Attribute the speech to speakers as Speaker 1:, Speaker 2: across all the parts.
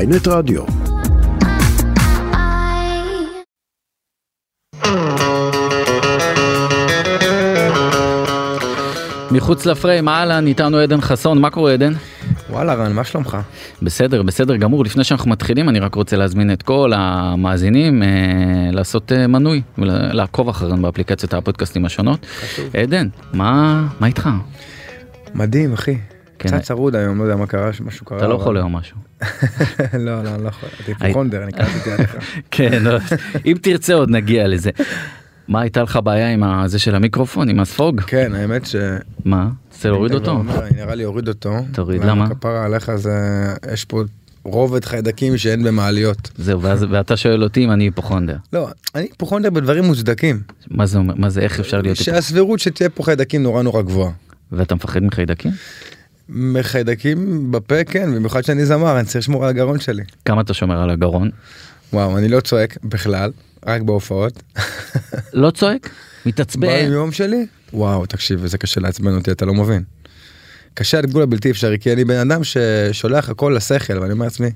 Speaker 1: ynet רדיו.
Speaker 2: מחוץ לפריים, אהלן, איתנו עדן חסון, מה קורה עדן?
Speaker 3: וואלה רן, מה שלומך?
Speaker 2: בסדר, בסדר גמור. לפני שאנחנו מתחילים, אני רק רוצה להזמין את כל המאזינים אה, לעשות אה, מנוי ולעקוב אחרינו באפליקציות הפודקאסטים השונות.
Speaker 3: חשוב.
Speaker 2: עדן, מה, מה איתך?
Speaker 3: מדהים, אחי.
Speaker 2: כן.
Speaker 3: קצת צרוד היום, לא יודע מה קרה, משהו קרה.
Speaker 2: אתה לא
Speaker 3: אבל-
Speaker 2: חולה או משהו.
Speaker 3: לא, לא, אני לא חולה. אתה היפוכונדר, אני קראתי עליך.
Speaker 2: כן, לא, אם תרצה עוד נגיע לזה. מה הייתה לך בעיה עם הזה של המיקרופון, עם הספוג?
Speaker 3: כן, האמת ש...
Speaker 2: מה? רוצה להוריד
Speaker 3: אני כבר
Speaker 2: אוקיי. אותו?
Speaker 3: אומר, אני נראה לי אוריד אותו.
Speaker 2: תוריד,
Speaker 3: למה
Speaker 2: למה?
Speaker 3: כפרה עליך זה... יש פה רובד חיידקים שאין במעליות.
Speaker 2: זהו, ואז- ואתה שואל אותי אם אני היפוכונדר.
Speaker 3: לא, אני היפוכונדר בדברים מוצדקים.
Speaker 2: מה זה אומר? מה זה, איך אפשר להיות היפוכונדר?
Speaker 3: שהסבירות שתהיה פה חיידקים נורא נורא גבוהה.
Speaker 2: ואתה מפחד מחיידקים?
Speaker 3: מחיידקים בפה כן, במיוחד שאני זמר, אני צריך לשמור על הגרון שלי.
Speaker 2: כמה אתה שומר על הגרון?
Speaker 3: וואו, אני לא צועק בכלל, רק בהופעות.
Speaker 2: לא צועק? מתעצבן?
Speaker 3: ביום שלי? וואו, תקשיב, זה קשה לעצבן אותי, אתה לא מבין. קשה עד גבול הבלתי אפשרי, כי אני בן אדם ששולח הכל לשכל, ואני אומר לעצמי,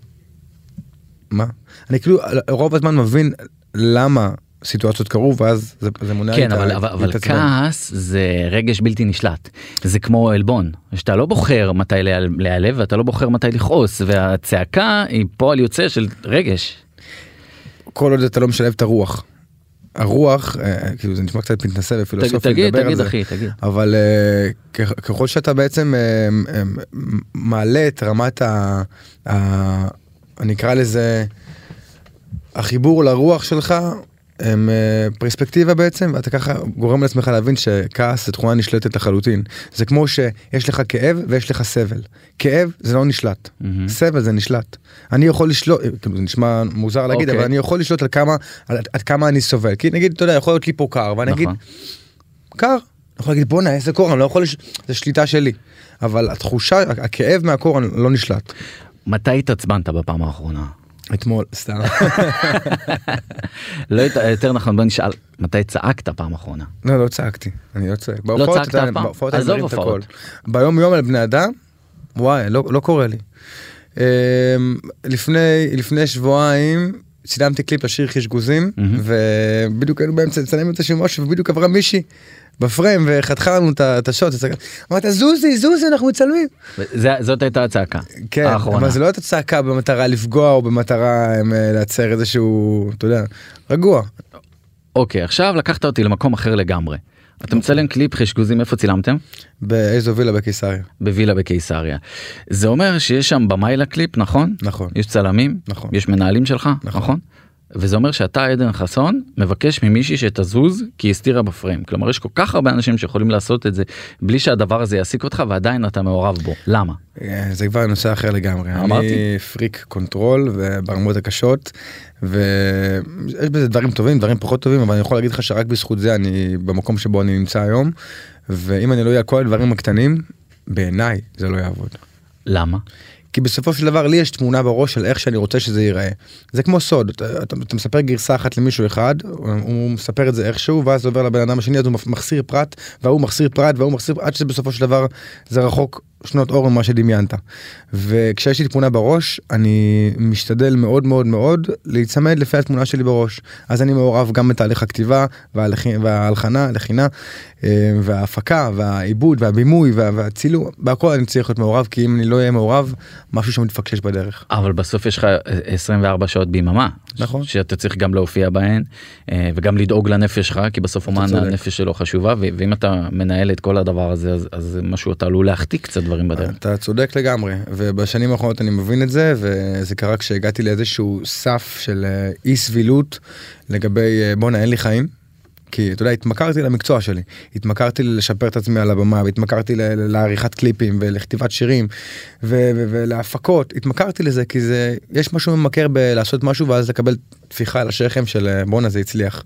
Speaker 3: מה? אני כאילו רוב הזמן מבין למה סיטואציות קרו, ואז זה, זה מונע
Speaker 2: כן,
Speaker 3: לי
Speaker 2: אבל,
Speaker 3: ה-
Speaker 2: אבל, אבל
Speaker 3: להתעצבן.
Speaker 2: כעס זה רגש בלתי נשלט. זה כמו עלבון, שאתה לא בוחר מתי להיעל- להיעלב ואתה לא בוחר מתי לכעוס, והצעקה היא פועל יוצא של רגש.
Speaker 3: כל עוד אתה לא משלב את הרוח. הרוח, אה, כאילו זה נשמע קצת מתנשא
Speaker 2: תגיד,
Speaker 3: ופילוסופי
Speaker 2: תגיד,
Speaker 3: לדבר על
Speaker 2: תגיד
Speaker 3: זה.
Speaker 2: אחי, תגיד.
Speaker 3: אבל אה, כ- ככל שאתה בעצם אה, אה, מעלה את רמת ה... ה- אני אקרא לזה החיבור לרוח שלך, הם אה, פרספקטיבה בעצם, ואתה ככה גורם לעצמך להבין שכעס זה תכונה נשלטת לחלוטין. זה כמו שיש לך כאב ויש לך סבל. כאב זה לא נשלט,
Speaker 2: מהמם.
Speaker 3: סבל זה נשלט. אני יכול לשלוט, אה, כאילו זה נשמע מוזר להגיד,
Speaker 2: אוקיי.
Speaker 3: אבל אני יכול לשלוט על כמה, על עד כמה אני סובל. כי נגיד, אתה יודע, יכול להיות לי פה קר, ואני אגיד,
Speaker 2: נכון.
Speaker 3: קר. אני יכול להגיד בואנה איזה קור, אני לא יכול, לש... זה שליטה שלי. אבל התחושה, הכאב מהקור אני לא נשלט.
Speaker 2: מתי התעצבנת בפעם האחרונה?
Speaker 3: אתמול, סתם.
Speaker 2: לא, הת- יותר נכון, בוא נשאל, מתי צעקת פעם אחרונה?
Speaker 3: לא, לא צעקתי, אני לא צועק. לא
Speaker 2: צעקת אף פעם?
Speaker 3: בהופעות אני
Speaker 2: עזוב
Speaker 3: מרים את הקול.
Speaker 2: הופעות.
Speaker 3: ביום יום על בני אדם, וואי, לא, לא קורה לי. אמ, לפני, לפני שבועיים צילמתי קליפ לשיר חשגוזים,
Speaker 2: מהמם.
Speaker 3: ובדיוק היינו באמצע לצלם את השיר משהו, ובדיוק עברה מישהי בפריים וחתכה לנו את ה- את השוט. אז אמרת זוזי, זוזי, אנחנו מצלמים.
Speaker 2: זה- זאת הייתה הצעקה.
Speaker 3: כן,
Speaker 2: האחרונה.
Speaker 3: אבל זה לא הייתה צעקה במטרה לפגוע או במטרה אמ, לייצר איזשהו, אתה יודע, רגוע. לא-
Speaker 2: אוקיי, עכשיו לקחת אותי למקום אחר לגמרי. אתה
Speaker 3: אוקיי.
Speaker 2: מצלם קליפ חשגוזים, איפה צילמתם?
Speaker 3: באיזו וילה בקיסריה,
Speaker 2: בווילה בקיסריה. זה אומר שיש שם במאי לקליפ, נכון?
Speaker 3: נכון.
Speaker 2: יש צלמים,
Speaker 3: נכון.
Speaker 2: יש מנהלים שלך, נכון?
Speaker 3: נכון.
Speaker 2: וזה אומר שאתה עדן חסון מבקש ממישהי שתזוז כי היא הסתירה בפריים. כלומר יש כל כך הרבה אנשים שיכולים לעשות את זה בלי שהדבר הזה יעסיק אותך ועדיין אתה מעורב בו. למה?
Speaker 3: אה, זה כבר נושא אחר לגמרי.
Speaker 2: אמרתי.
Speaker 3: אני פריק קונטרול וברמות הקשות, ויש בזה דברים טובים, דברים פחות טובים, אבל אני יכול להגיד לך שרק בזכות זה אני במקום שבו אני נמצא היום, ואם אני לא אהיה על כל הדברים הקטנים, בעיניי זה לא יעבוד.
Speaker 2: למה?
Speaker 3: כי בסופו של דבר לי יש תמונה בראש של איך שאני רוצה שזה ייראה. זה כמו סוד, אתה, אתה, אתה מספר גרסה אחת למישהו אחד, הוא, הוא מספר את זה איכשהו, ואז זה עובר לבן אדם השני, אז הוא מחסיר פרט, וההוא מחסיר פרט, וההוא מחסיר פרט, עד שבסופו של דבר זה רחוק שנות אור ממה שדמיינת. וכשיש לי תמונה בראש, אני משתדל מאוד מאוד מאוד להיצמד לפי התמונה שלי בראש. אז אני מעורב גם בתהליך הכתיבה, וההלכי- וההלחנה, הלחינה, אה, וההפקה, והעיבוד, והבימוי, וה- והצילום, בהכל אני צריך להיות מעורב, כי אם אני לא אהיה מעורב, משהו שם מתפקשש בדרך.
Speaker 2: אבל בסוף יש לך אה, 24 שעות ביממה.
Speaker 3: נכון.
Speaker 2: ש- שאתה צריך גם להופיע בהן אה, וגם לדאוג לנפש שלך כי בסוף אומן
Speaker 3: צודק.
Speaker 2: הנפש שלו חשובה ו- ואם אתה מנהל את כל הדבר הזה אז, אז משהו אתה עלול להחטיא קצת דברים בדרך.
Speaker 3: אתה צודק לגמרי, ובשנים האחרונות אני מבין את זה, וזה קרה כשהגעתי לאיזשהו סף של אה, אי סבילות לגבי אה, בואנה אין לי חיים. כי אתה יודע, התמכרתי למקצוע שלי, התמכרתי ללשפר את עצמי על הבמה, והתמכרתי ל- ל- לעריכת קליפים ולכתיבת שירים ו- ו- ולהפקות, התמכרתי לזה כי זה, יש משהו ממכר בלעשות משהו ואז לקבל טפיחה על השכם של אה, בואנה זה הצליח,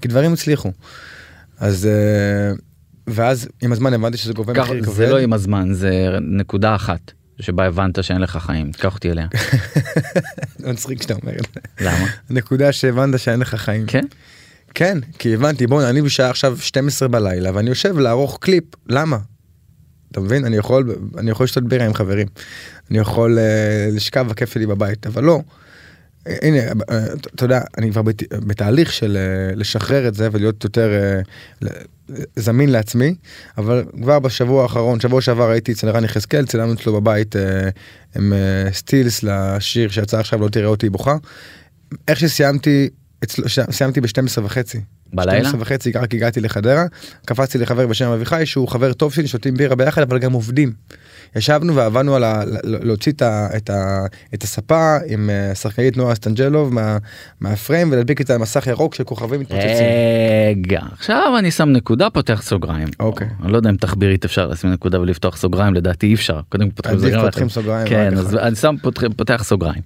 Speaker 3: כי דברים הצליחו. אז, אה, ואז עם הזמן הבנתי שזה גובה
Speaker 2: כך,
Speaker 3: מחיר כבד.
Speaker 2: זה לא עם הזמן זה נקודה אחת שבה הבנת שאין לך חיים תיקח אותי אליה
Speaker 3: לא מצחיק שאתה אומר את זה.
Speaker 2: למה
Speaker 3: נקודה שהבנת שאין לך חיים.
Speaker 2: כן
Speaker 3: כן, כי הבנתי, בוא'נה, אני בשעה עכשיו 12 בלילה ואני יושב לערוך קליפ, למה? אתה מבין? אני יכול, אני יכול לשתות בירה עם חברים. אני יכול אה, לשכב בכיף שלי בבית, אבל לא. אה, הנה, אה, אתה יודע, אני כבר בת- בתהליך של אה, לשחרר את זה ולהיות יותר אה, ל- זמין לעצמי, אבל כבר בשבוע האחרון, שבוע שעבר הייתי אצל רן יחזקאל, צילמנו אצלו בבית אה, עם אה, סטילס לשיר שיצא עכשיו, לא תראה אותי בוכה. איך שסיימתי, אצלו, ש- סיימתי ב-12 וחצי.
Speaker 2: בלילה?
Speaker 3: 12 וחצי רק הגעתי לחדרה, קפצתי לחבר בשם אביחי שהוא חבר טוב שלי, שותים בירה ביחד אבל גם עובדים. ישבנו ועבדנו על ה... ל- להוציא את, ה... את, ה... את הספה עם אה, שחקנית נועה סטנג'לוב מה... מהפריים ולהדביק את המסך ירוק של כוכבים מתפוצצים.
Speaker 2: אה, רגע, עכשיו אני שם נקודה, פותח סגריים.
Speaker 3: אוקיי.
Speaker 2: אני לא יודע אם תחבירית אפשר לשים נקודה ולפתוח סוגריים, לדעתי אי אפשר. קודם פותחים
Speaker 3: עדיף
Speaker 2: סוגריים.
Speaker 3: פותחים סוגריים.
Speaker 2: כן,
Speaker 3: רק
Speaker 2: אז
Speaker 3: אחד.
Speaker 2: אני שם פותח- פותח סוגריים.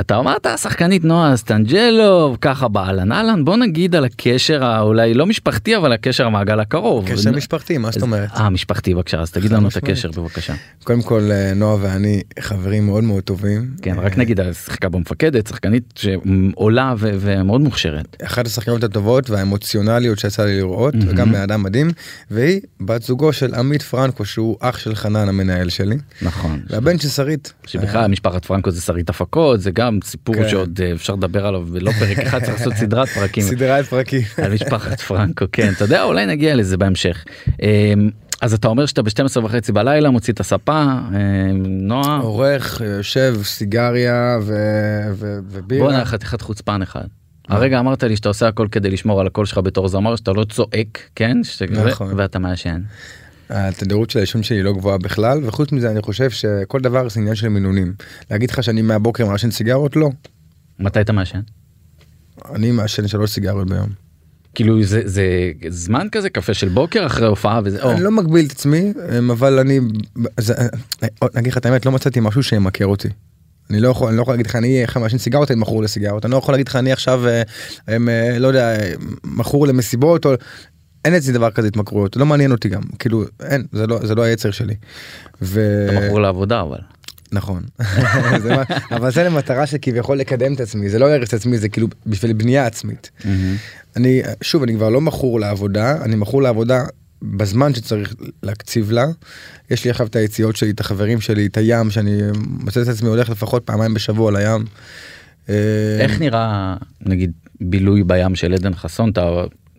Speaker 2: אתה אמרת השחקנית נועה סטנג'לוב ככה באהלן אהלן בוא נגיד על הקשר האולי לא משפחתי אבל הקשר המעגל הקרוב.
Speaker 3: קשר משפחתי, מה זאת אומרת?
Speaker 2: אה משפחתי בבקשה אז תגיד
Speaker 3: חד
Speaker 2: לנו את
Speaker 3: משמעית.
Speaker 2: הקשר בבקשה.
Speaker 3: קודם כל אה, נועה ואני חברים מאוד מאוד טובים.
Speaker 2: כן
Speaker 3: אה,
Speaker 2: רק נגיד שיחקה במפקדת שחקנית שעולה ו- ומאוד מוכשרת.
Speaker 3: אחת השחקניות הטובות והאמוציונליות שיצא לי לראות
Speaker 2: מהמם.
Speaker 3: וגם בן אדם מדהים והיא בת זוגו של עמית פרנקו שהוא אח של חנן המנהל שלי
Speaker 2: נכון.
Speaker 3: והבן של שרית.
Speaker 2: שבכלל משפחת פרנקו זה שרית הפקות זה גם סיפור
Speaker 3: אה. כן.
Speaker 2: שעוד אה, אפשר לדבר עליו ולא פרק אחד צריך לעשות סדרת פרקים
Speaker 3: סדרת פרקים.
Speaker 2: על משפחת פרנקו כן אתה יודע אולי נגיע לזה בהמשך. אמ, אז אתה אומר שאתה ב-12 וחצי בלילה מוציא את הספה אמ, נועה
Speaker 3: אוקיי. עורך יושב סיגריה ו- ו-
Speaker 2: בואנה
Speaker 3: ובירה.
Speaker 2: חתיכת חוצפן אחד. הרגע אמרת לי שאתה עושה הכל כדי לשמור על הקול שלך בתור זמר שאתה לא צועק כן שאתה-
Speaker 3: נכון.
Speaker 2: ואתה מעשן.
Speaker 3: התדירות של העישון שלי היא לא גבוהה בכלל וחוץ מזה אני חושב שכל דבר זה עניין של מינונים. להגיד לך שאני מהבוקר מעשן סיגרות? לא.
Speaker 2: מתי אתה מעשן?
Speaker 3: אני מעשן שלוש סיגריות ביום.
Speaker 2: כאילו זה זה זמן כזה קפה של בוקר אחרי הופעה וזה או,
Speaker 3: אני לא מגביל את עצמי אמ, אבל אני זה- אה, נגיד לך את האמת לא מצאתי משהו שימכר אותי. אני לא יכול אני לא יכול להגיד לך אני איך מעשן סיגרות אני מכור לסיגרות אני לא יכול להגיד לך אני עכשיו אה, אמ, אה, לא יודע אה, מכור למסיבות או אין אצלי דבר כזה התמכרויות לא מעניין אותי גם כאילו אין זה לא זה לא היצר שלי. ו...
Speaker 2: אתה מכור לעבודה אבל.
Speaker 3: נכון זה מה- אבל זה למטרה שכביכול לקדם את עצמי זה לא ערך את עצמי זה כאילו בשביל בנייה עצמית. אני שוב אני כבר לא מכור לעבודה אני מכור לעבודה בזמן שצריך להקציב לה. יש לי עכשיו את היציאות שלי את החברים שלי את הים שאני מוצא את עצמי הולך לפחות פעמיים בשבוע לים. אה,
Speaker 2: איך נראה נגיד בילוי בים של עדן חסון אתה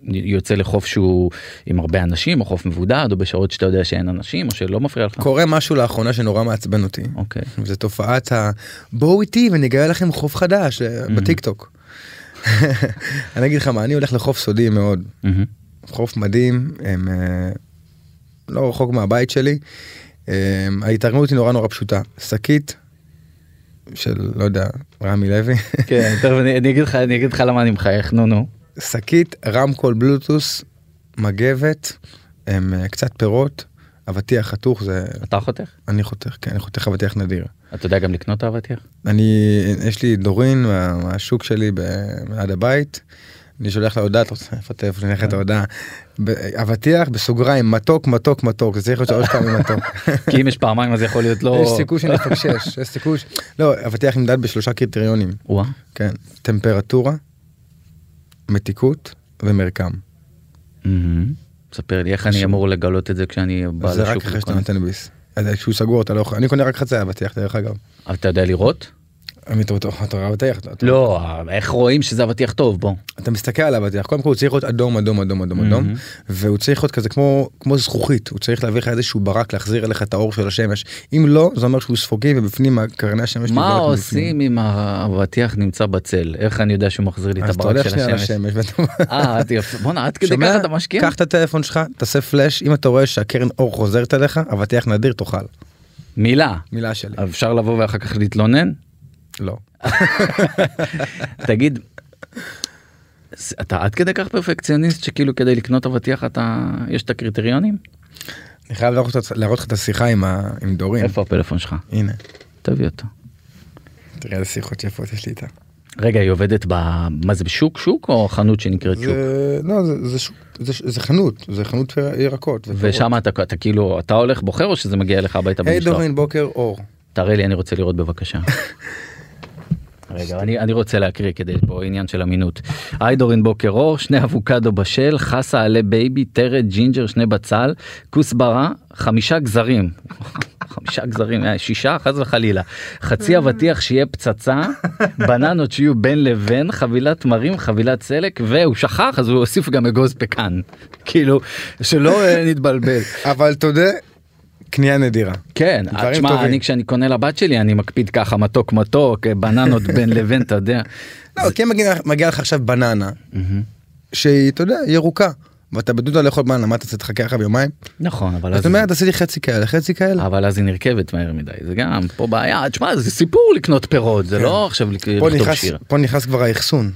Speaker 2: יוצא לחוף שהוא עם הרבה אנשים או חוף מבודד או בשעות שאתה יודע שאין אנשים או שלא מפריע לך.
Speaker 3: קורה משהו לאחרונה שנורא מעצבן אותי
Speaker 2: אוקיי.
Speaker 3: זה תופעת ה... בואו איתי ואני אגלה לכם חוף חדש אה, בטיקטוק. אני אגיד לך מה אני הולך לחוף סודי מאוד
Speaker 2: מהמם.
Speaker 3: חוף מדהים, הם, אה, לא רחוק מהבית שלי. אה, ההתארגנות היא נורא נורא פשוטה, שקית של לא יודע, רמי לוי,
Speaker 2: כן, תכף אני אני אגיד לך אני אגיד לך למה אני מחייך נו נו.
Speaker 3: שקית, רמקול, בלוטוס, מגבת, הם, אה, קצת פירות, אבטיח חתוך זה,
Speaker 2: אתה חותך?
Speaker 3: אני חותך, כן, אני חותך אבטיח נדיר.
Speaker 2: אתה יודע גם לקנות את האבטיח?
Speaker 3: אני, יש לי דורין מה- מהשוק שלי ב- ליד הבית, אני שולח לה הודעה, אתה רוצה איפה טלפון, אני אשלח את ההודעה. ב- אבטיח בסוגריים, מתוק, מתוק, מתוק, זה צריך להיות שלוש פעמים מתוק.
Speaker 2: כי אם יש פעמיים אז יכול להיות לא...
Speaker 3: יש סיכוי שנפקשש, יש סיכוי ש... לא, אבטיח נמדד בשלושה קריטריונים,
Speaker 2: וואה.
Speaker 3: כן, טמפרטורה, מתיקות ומרקם.
Speaker 2: מהמם. ספר לי איך אני אמור לגלות את זה כשאני בא לשוק.
Speaker 3: זה רק אחרי שאתה
Speaker 2: וקונה?
Speaker 3: נותן ביס. אז כשהוא סגור אתה לא יכול, אני קונה רק חצי אבטיח דרך אגב.
Speaker 2: אבל אתה יודע לראות?
Speaker 3: עמית, אתה רואה- אתה רואה אבטיח? אתה-
Speaker 2: לא, איך רואים שזה אבטיח טוב בוא.
Speaker 3: אתה מסתכל על האבטיח, קודם כל הוא צריך להיות אדום, אדום, אדום, אדום, אדום, והוא צריך להיות כזה כמו כמו זכוכית, הוא צריך להביא לך איזשהו ברק להחזיר אליך את האור של השמש. אם לא, זה אומר שהוא ספוגי ובפנים קרני השמש
Speaker 2: מה
Speaker 3: נבלעות מבפנים.
Speaker 2: עושים אם האבטיח נמצא בצל? איך אני יודע שהוא מחזיר לי את
Speaker 3: אז אתה
Speaker 2: הברק של
Speaker 3: הולך שנייה
Speaker 2: השמש?
Speaker 3: לשמש ואתה...
Speaker 2: אה, את יפה. בואנה, עד כדי
Speaker 3: שומע?
Speaker 2: ככה אתה משקיע?
Speaker 3: קח את הטלפון שלך, תעשה פלאש, אם אתה רואה שהקרן אור חוזרת אליך, אבטיח נדיר תאכל.
Speaker 2: מילה.
Speaker 3: מילה שלי.
Speaker 2: אפשר לבוא ואחר כך להתלונן?
Speaker 3: לא.
Speaker 2: תגיד, ס- אתה עד כדי כך פרפקציוניסט שכאילו כדי לקנות אבטיח אתה, יש את הקריטריונים?
Speaker 3: אני חייב להראות לך- להראות לך את השיחה עם ה- עם דורין.
Speaker 2: איפה הפלאפון שלך?
Speaker 3: הנה.
Speaker 2: תביא אותו.
Speaker 3: תראה איזה שיחות יפות יש לי איתה.
Speaker 2: רגע, היא עובדת ב... מה זה, בשוק שוק או חנות שנקראת שוק?
Speaker 3: זה- לא, זה- זה שוק- זה ש- זה חנות, זה חנות ירקות. ופירות.
Speaker 2: ושם אתה, אתה כאילו, אתה הולך בוחר או שזה מגיע אליך הביתה
Speaker 3: היי
Speaker 2: במשלוח?
Speaker 3: דורין, בוקר אור.
Speaker 2: תראה לי, אני רוצה לראות בבקשה. רגע, אני, אני רוצה להקריא כדי פה עניין של אמינות. איידורין בוקר אור, שני אבוקדו בשל, חסה עלי בייבי, טרד, ג'ינג'ר, שני בצל, כוסברה, חמישה גזרים. חמישה גזרים, אה, שישה, חס וחלילה. חצי אבטיח שיהיה פצצה, בננות שיהיו בין לבין, חבילת תמרים, חבילת סלק, והוא שכח, אז הוא הוסיף גם אגוז פקן. כאילו, שלא אה, נתבלבל.
Speaker 3: אבל אתה יודע, קנייה נדירה.
Speaker 2: כן,
Speaker 3: דברים
Speaker 2: תשמע,
Speaker 3: טובים.
Speaker 2: אני כשאני קונה לבת שלי, אני מקפיד ככה מתוק מתוק, אה, בננות בין לבין, אתה יודע.
Speaker 3: לא, כי אם מגיע- מגיע לך עכשיו בננה, שהיא, אתה יודע, ירוקה, ואתה בדודה לאכול בננה, מה אתה צריך לחכה אחריו יומיים?
Speaker 2: נכון, אבל אז...
Speaker 3: זאת אומרת, תעשי לי חצי כאלה, חצי כאלה.
Speaker 2: אבל אז היא נרכבת מהר מדי, זה גם, פה בעיה, תשמע, זה סיפור לקנות פירות, זה לא עכשיו לק-
Speaker 3: כן. פה
Speaker 2: לכתוב
Speaker 3: נכנס-
Speaker 2: שיר.
Speaker 3: פה נכנס כבר האחסון.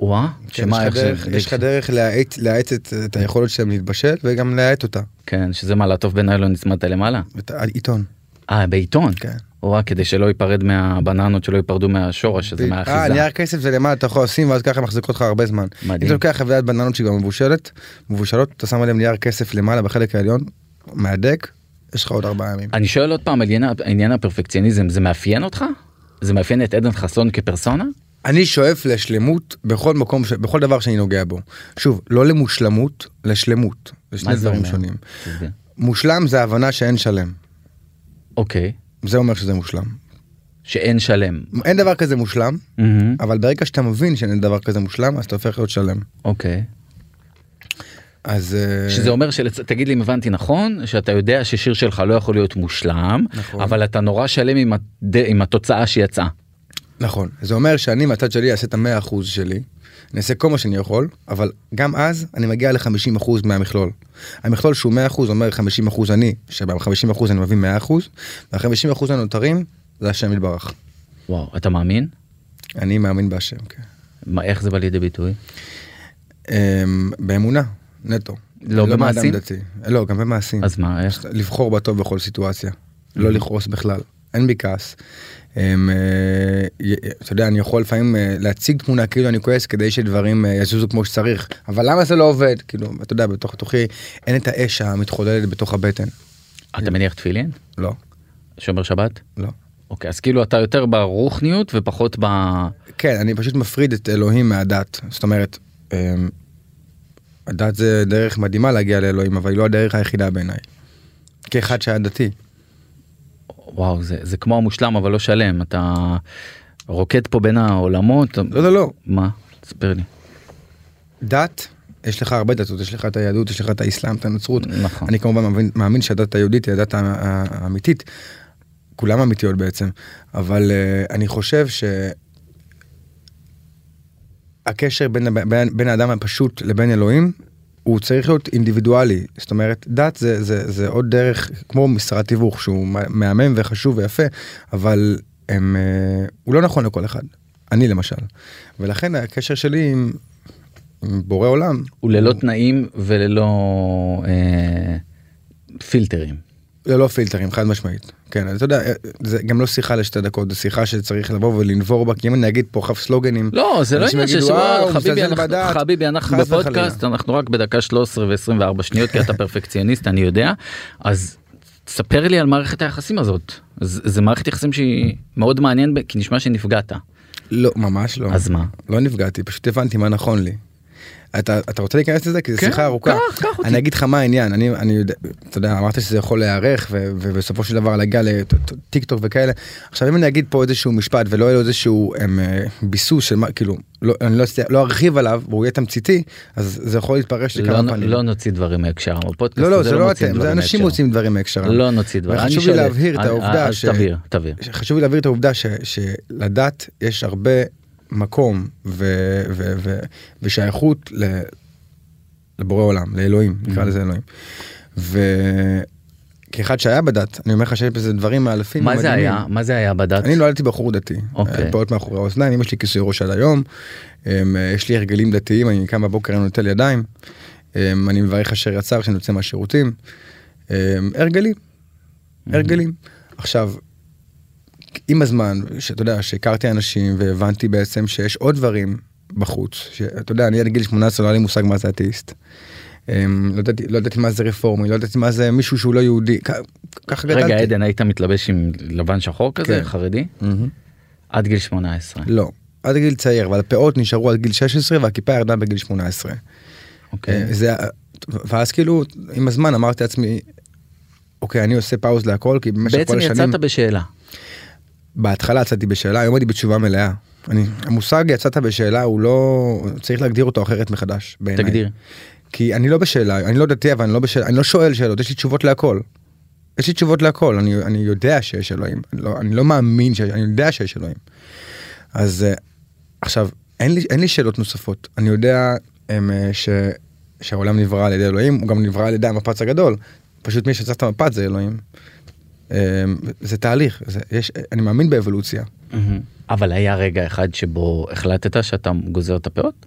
Speaker 2: וואה,
Speaker 3: כן,
Speaker 2: שמה איך
Speaker 3: יש לך
Speaker 2: זה...
Speaker 3: דרך- יש לך דרך להאט להאט את את היכולת שלהם להתבשל וגם להאט אותה.
Speaker 2: כן, שזה מה, לעטוף בניילון נצמדת למעלה?
Speaker 3: את העיתון.
Speaker 2: אה, בעיתון.
Speaker 3: כן.
Speaker 2: וואה, כדי שלא ייפרד מהבננות, שלא ייפרדו מהשורש הזה,
Speaker 3: אה,
Speaker 2: מהאחיזה.
Speaker 3: נייר כסף זה למעלה, אתה יכול לשים ואז ככה מחזיקות לך הרבה זמן.
Speaker 2: מדהים.
Speaker 3: אם אתה לוקח חבילת בננות שהיא כבר מבושלת, מבושלות, אתה שם עליהם נייר כסף למעלה בחלק העליון, מהדק, יש לך עוד ארבעה ימים.
Speaker 2: אני שואל עוד פעם, על עניין- עניין הפרפקציוניזם, זה מאפיין אותך? זה מאפיין את עדן חסון כפרסונה?
Speaker 3: אני שואף לשלמות בכל מקום, ש- בכל דבר שאני נוגע בו. שוב, לא למושלמות, לשלמות. זה שני
Speaker 2: מה זה
Speaker 3: דברים
Speaker 2: אומר?
Speaker 3: שונים.
Speaker 2: תסביר.
Speaker 3: מושלם זה הבנה שאין שלם.
Speaker 2: אוקיי,
Speaker 3: זה אומר שזה מושלם.
Speaker 2: שאין שלם.
Speaker 3: אין דבר כזה מושלם,
Speaker 2: מהמם,
Speaker 3: אבל ברגע שאתה מבין שאין דבר כזה מושלם, אז אתה הופך להיות שלם.
Speaker 2: אוקיי.
Speaker 3: אז... אה,
Speaker 2: שזה אומר שלצ... תגיד לי אם הבנתי נכון שאתה יודע ששיר שלך לא יכול להיות מושלם
Speaker 3: נכון.
Speaker 2: אבל אתה נורא שלם עם, הד... עם התוצאה שיצאה.
Speaker 3: נכון, זה אומר שאני מהצד שלי אעשה את המאה אחוז שלי, אני אעשה כל מה שאני יכול, אבל גם אז אני מגיע ל-50 אחוז מהמכלול. המכלול שהוא 100 אחוז אומר 50 אחוז אני, שב-50 אחוז אני מביא 100 אחוז, וה-50 אחוז הנותרים זה השם יתברך.
Speaker 2: וואו אתה מאמין?
Speaker 3: אני מאמין בהשם, כן.
Speaker 2: מה, איך זה בא לידי ביטוי?
Speaker 3: אמ, באמונה, נטו.
Speaker 2: לא
Speaker 3: אני
Speaker 2: במעשים?
Speaker 3: מאדם דתי. לא, גם במעשים.
Speaker 2: אז מה איך?
Speaker 3: לבחור בטוב בכל סיטואציה, לא לכעוס בכלל, אין בי כעס. הם, אה, י- אתה יודע, אני יכול לפעמים אה, להציג תמונה כאילו אני כועס כדי שדברים אה, יזוזו כמו שצריך, אבל למה זה לא עובד? כאילו, אתה יודע, בתוך תוכי אין את האש המתחוללת בתוך הבטן.
Speaker 2: אתה מניח תפילין?
Speaker 3: לא,
Speaker 2: שומר שבת?
Speaker 3: כן. לא.
Speaker 2: אוקיי אז כאילו אתה יותר ברוחניות ופחות ב...
Speaker 3: כן, אני פשוט מפריד את אלוהים מהדת. זאת אומרת, אמ, הדת זה דרך מדהימה להגיע לאלוהים, אבל היא לא הדרך היחידה בעיניי. כאחד שהיה דתי.
Speaker 2: וואו זה, זה כמו המושלם אבל לא שלם אתה רוקד פה בין העולמות.
Speaker 3: לא, לא, לא,
Speaker 2: מה? תספר לי.
Speaker 3: דת, יש לך הרבה דתות, יש לך את היהדות, יש לך את האסלאם, את הנצרות.
Speaker 2: נכון.
Speaker 3: אני כמובן מאמין, מאמין שהדת היהודית היא הדת הא- הא- האמיתית. כולם אמיתיות בעצם, אבל uh, אני חושב שהקשר בין, הב- בין, בין האדם הפשוט לבין אלוהים, הוא צריך להיות אינדיבידואלי. זאת אומרת, דת זה, זה, זה עוד דרך, כמו משרד תיווך, שהוא מה- מהמם וחשוב ויפה, אבל הם, uh, הוא לא נכון לכל אחד. אני למשל. ולכן הקשר שלי עם, עם בורא עולם
Speaker 2: הוא ללא תנאים וללא אה, פילטרים.
Speaker 3: זה לא פילטרים חד משמעית כן אתה יודע זה גם לא שיחה לשתי דקות זה שיחה שצריך לבוא ולנבור בה כי אם אני אגיד פה עכשיו סלוגנים
Speaker 2: לא זה לא
Speaker 3: אנשים
Speaker 2: עניין של
Speaker 3: יגידו, "אה, הוא
Speaker 2: חביבי
Speaker 3: מזלזל
Speaker 2: אנחנו-
Speaker 3: בדת."
Speaker 2: חביבי אנחנו
Speaker 3: חס
Speaker 2: בפודקאסט
Speaker 3: וחלילה.
Speaker 2: אנחנו רק בדקה 13 ו24 שניות כי אתה פרפקציוניסט אני יודע אז תספר לי על מערכת היחסים הזאת זה, זה מערכת יחסים שהיא מאוד מעניין ב- כי נשמע שנפגעת
Speaker 3: לא ממש לא
Speaker 2: אז מה?
Speaker 3: לא נפגעתי פשוט הבנתי מה נכון לי. אתה אתה רוצה להיכנס לזה כי זו
Speaker 2: כן,
Speaker 3: שיחה ארוכה
Speaker 2: קח, קח אותי.
Speaker 3: אני אגיד לך מה העניין אני אני יודע אתה יודע אמרת שזה יכול להיערך ו- ובסופו של דבר להגיע לטיק טוק וכאלה עכשיו אם אני אגיד פה איזשהו משפט ולא יהיה לו איזשהו אמ, אה, ביסוס של מה כאילו לא אני לא אצליח- לא ארחיב עליו והוא יהיה תמציתי אז זה יכול להתפרש
Speaker 2: לא,
Speaker 3: לכמה
Speaker 2: נ-
Speaker 3: פנים.
Speaker 2: לא נוציא דברים מהקשר הפודקאסט
Speaker 3: לא לא
Speaker 2: הזה
Speaker 3: זה לא
Speaker 2: מוציא
Speaker 3: אתם זה
Speaker 2: דברים
Speaker 3: אנשים
Speaker 2: מהקשרם.
Speaker 3: מוצאים דברים מהקשרם.
Speaker 2: לא נוציא דברים אני
Speaker 3: וחשוב לי
Speaker 2: שואל-
Speaker 3: להבהיר את
Speaker 2: אה,
Speaker 3: העובדה
Speaker 2: אה, אז
Speaker 3: ש-
Speaker 2: תבהיר תבהיר
Speaker 3: חשוב לי להבהיר את העובדה ש, שלדת יש הרבה מקום ו, ו, ו, ושייכות ל, לבורא עולם, לאלוהים,
Speaker 2: Mm-hmm.
Speaker 3: נקרא לזה אלוהים. וכאחד שהיה בדת, אני אומר לך שיש בזה דברים מאלפים.
Speaker 2: מה זה
Speaker 3: ומדהימים.
Speaker 2: היה מה זה היה בדת
Speaker 3: אני לא- נולדתי בחור דתי,
Speaker 2: אוקיי.
Speaker 3: היה פעוט מאחורי האוזניים, אמא שלי כיסוי ראש עד היום, אמ, יש לי הרגלים דתיים, אני קם בבוקר, אני נוטל ידיים, אמ, אני מברך אשר יצא כשאני יוצא מהשירותים, אמ, הרגלים,
Speaker 2: אה.
Speaker 3: הרגלים. עכשיו, עם הזמן, שאתה יודע, שהכרתי אנשים והבנתי בעצם שיש עוד דברים בחוץ, שאתה יודע, אני עד גיל 18 לא היה לי מושג מה זה אתאיסט. אמ, לא ידעתי- לא ידעתי מה זה רפורמי, לא ידעתי מה זה מישהו שהוא לא יהודי, כ- ככה גדלתי.
Speaker 2: רגע עדן היית מתלבש עם לבן שחור כזה
Speaker 3: כן.
Speaker 2: חרדי
Speaker 3: מהמם.
Speaker 2: עד גיל 18.
Speaker 3: לא, עד גיל צעיר, אבל הפאות נשארו עד גיל 16 והכיפה ירדה בגיל 18.
Speaker 2: אוקיי.
Speaker 3: אה, זה, ואז כאילו, עם הזמן אמרתי לעצמי, אוקיי, אני עושה פאוז להכל, כי במשך
Speaker 2: בעצם
Speaker 3: כל השנים...
Speaker 2: יצאת בשאלה.
Speaker 3: בהתחלה יצאתי בשאלה, היום אני בתשובה מלאה. אני, המושג יצאת בשאלה הוא לא, צריך להגדיר אותו אחרת מחדש, בעיניי.
Speaker 2: תגדיר.
Speaker 3: כי אני לא בשאלה, אני לא דתי אבל אני לא בשאלה, אני לא שואל שאלות, יש לי תשובות להכל. יש לי תשובות להכל, אני, אני יודע שיש אלוהים, אני לא, אני לא מאמין, שיש, אני יודע שיש אלוהים. אז אה, עכשיו, אין לי, אין לי שאלות נוספות, אני יודע הם, אה, ש, שהעולם נברא על ידי אלוהים, הוא גם נברא על ידי המפץ הגדול, פשוט מי שצריך את המפץ זה אלוהים. אה, זה תהליך, זה, יש, אני מאמין באבולוציה.
Speaker 2: מהמם. אבל היה רגע אחד שבו החלטת שאתה גוזר את הפאות?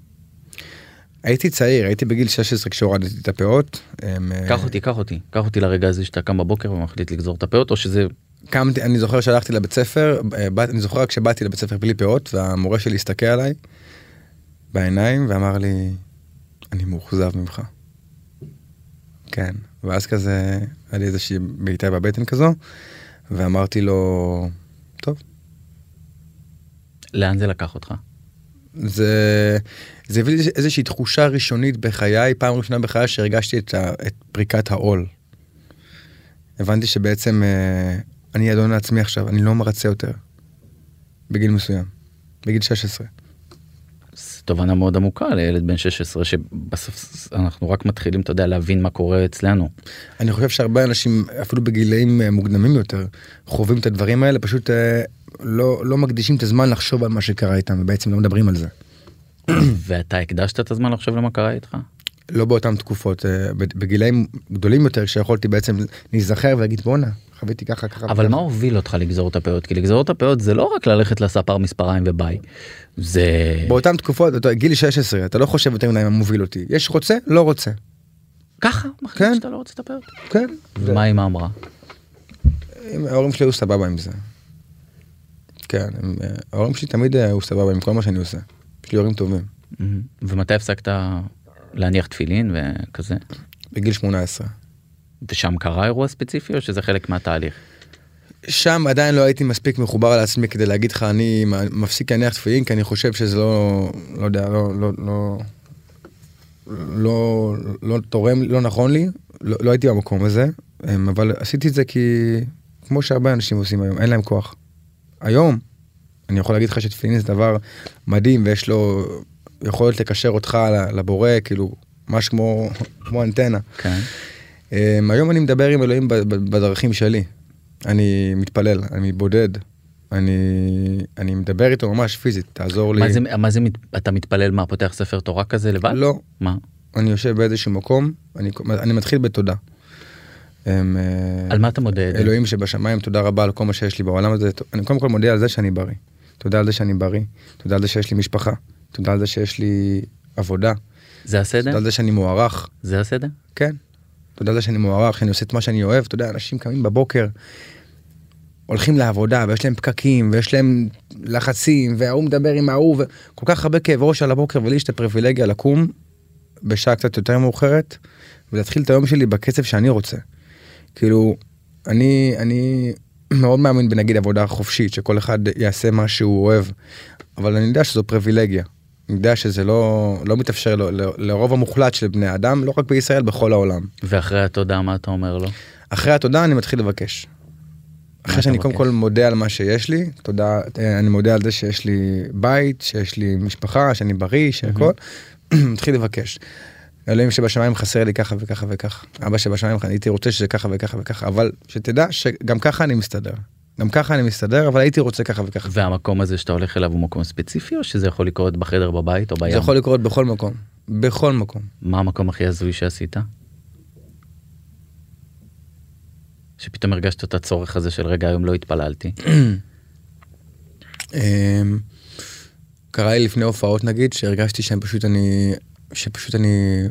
Speaker 3: הייתי צעיר, הייתי בגיל 16 כשהורדתי את הפאות. אמ, אה,
Speaker 2: קח אותי, קח אותי. קח אותי לרגע הזה שאתה קם בבוקר ומחליט לגזור את הפאות, או שזה...
Speaker 3: קמתי, אני זוכר שהלכתי לבית ספר, אה, באת- אני זוכר רק שבאתי לבית ספר בלי פאות, והמורה שלי הסתכל עליי בעיניים ואמר לי, אני מאוכזב ממך. כן, ואז כזה, היה לי איזושהי בעיטה בבטן כזו, ואמרתי לו, טוב,
Speaker 2: לאן זה לקח אותך?
Speaker 3: זה, זה הביא לי איזושהי תחושה ראשונית בחיי, פעם ראשונה בחיי שהרגשתי את, ה, את פריקת העול. הבנתי שבעצם אה, אני אדון לעצמי עכשיו, אני לא מרצה יותר. בגיל מסוים, בגיל 16.
Speaker 2: זו תובנה מאוד עמוקה לילד בן 16, שבסוף אנחנו רק מתחילים, אתה יודע, להבין מה קורה אצלנו.
Speaker 3: אני חושב שהרבה אנשים, אפילו בגילאים אה, מוקדמים יותר, חווים את הדברים האלה, פשוט אה, לא, לא מקדישים את הזמן לחשוב על מה שקרה איתם, ובעצם לא מדברים על זה.
Speaker 2: ואתה הקדשת את הזמן לחשוב למה קרה איתך?
Speaker 3: לא באותן תקופות, אה, בד- בגילאים גדולים יותר, שיכולתי בעצם להיזכר ולהגיד, בואנה, חוויתי ככה, ככה.
Speaker 2: אבל
Speaker 3: וככה."
Speaker 2: מה הוביל אותך לגזור את הפאות? כי לגזור את הפאות זה לא רק ללכת לספר מספריים וביי. זה...
Speaker 3: באותן תקופות, אתה גיל 16, אתה לא חושב יותר מדי מה מוביל אותי. יש רוצה, לא רוצה.
Speaker 2: ככה? מחליט
Speaker 3: כן.
Speaker 2: שאתה לא רוצה את הפאות?
Speaker 3: כן.
Speaker 2: ומה אימא אמרה? Mm-hmm.
Speaker 3: אם ההורים שלי היו סבבה עם זה. כן, הם, אה, ההורים שלי תמיד אה, היו סבבה עם כל מה שאני עושה. יש לי הורים טובים.
Speaker 2: מהמם. ומתי הפסקת להניח תפילין וכזה?
Speaker 3: בגיל 18.
Speaker 2: ושם קרה אירוע ספציפי או שזה חלק מהתהליך?
Speaker 3: שם עדיין לא הייתי מספיק מחובר לעצמי כדי להגיד לך, אני מפסיק להניח תפילין, כי אני חושב שזה לא, לא יודע, לא, לא, לא, לא, לא תורם, לא נכון לי, לא, לא הייתי במקום הזה, אמ, אבל עשיתי את זה כי, כמו שהרבה אנשים עושים היום, אין להם כוח. היום, אני יכול להגיד לך שתפילין זה דבר מדהים, ויש לו יכולת לקשר אותך לבורא, כאילו, ממש כמו, כמו אנטנה.
Speaker 2: כן.
Speaker 3: אמ, היום אני מדבר עם אלוהים ב- ב- בדרכים שלי. אני מתפלל, אני בודד, אני, אני מדבר איתו ממש פיזית, תעזור לי.
Speaker 2: מה זה, מה זה, מת- אתה מתפלל מה, פותח ספר תורה כזה לבד?
Speaker 3: לא,
Speaker 2: מה?
Speaker 3: אני יושב באיזשהו מקום, אני, אני מתחיל בתודה. אמ, אה,
Speaker 2: על מה אתה מודד?
Speaker 3: אלוהים שבשמיים, תודה רבה על כל מה שיש לי בעולם הזה. אני קודם כל מודה על זה שאני בריא. תודה על זה שאני בריא, תודה על זה שיש לי משפחה, תודה על זה שיש לי עבודה,
Speaker 2: כן. זה הסדר?
Speaker 3: תודה על זה שאני מוערך.
Speaker 2: זה הסדר?
Speaker 3: כן. אתה יודע שאני מוערך, שאני עושה את מה שאני אוהב, אתה יודע, אנשים קמים בבוקר, הולכים לעבודה, ויש להם פקקים, ויש להם לחצים, וההוא מדבר עם ההוא, וכל כך הרבה כאב ראש על הבוקר, ולי יש את הפריבילגיה לקום בשעה קצת יותר מאוחרת, ולהתחיל את היום שלי בקצב שאני רוצה. כאילו, אני, אני מאוד מאמין בנגיד עבודה חופשית, שכל אחד יעשה מה שהוא אוהב, אבל אני יודע שזו פריבילגיה. אני יודע שזה לא, לא מתאפשר ל- ל- לרוב המוחלט של בני אדם, לא רק בישראל, בכל העולם.
Speaker 2: ואחרי התודה מה אתה אומר לו?
Speaker 3: אחרי התודה אני מתחיל לבקש.
Speaker 2: אתה
Speaker 3: אחרי שאני קודם
Speaker 2: מבקש?
Speaker 3: כל מודה על מה שיש לי, תודה, אה, אני מודה על זה שיש לי בית, שיש לי משפחה, שאני בריא, שהכל, מתחיל לבקש. אלוהים שבשמיים חסר לי ככה וככה וככה. אבא שבשמיים הייתי רוצה שזה ככה וככה וככה, אבל שתדע שגם ככה אני מסתדר. גם ככה אני מסתדר, אבל הייתי רוצה ככה וככה.
Speaker 2: והמקום הזה שאתה הולך אליו הוא מקום ספציפי או שזה יכול לקרות בחדר בבית או בים?
Speaker 3: זה יכול לקרות בכל מקום, בכל מקום.
Speaker 2: מה המקום הכי הזוי שעשית? שפתאום הרגשת את הצורך הזה של רגע היום לא התפללתי.
Speaker 3: אמ, קרה לי לפני הופעות נגיד שהרגשתי שאני פשוט אני שפשוט אני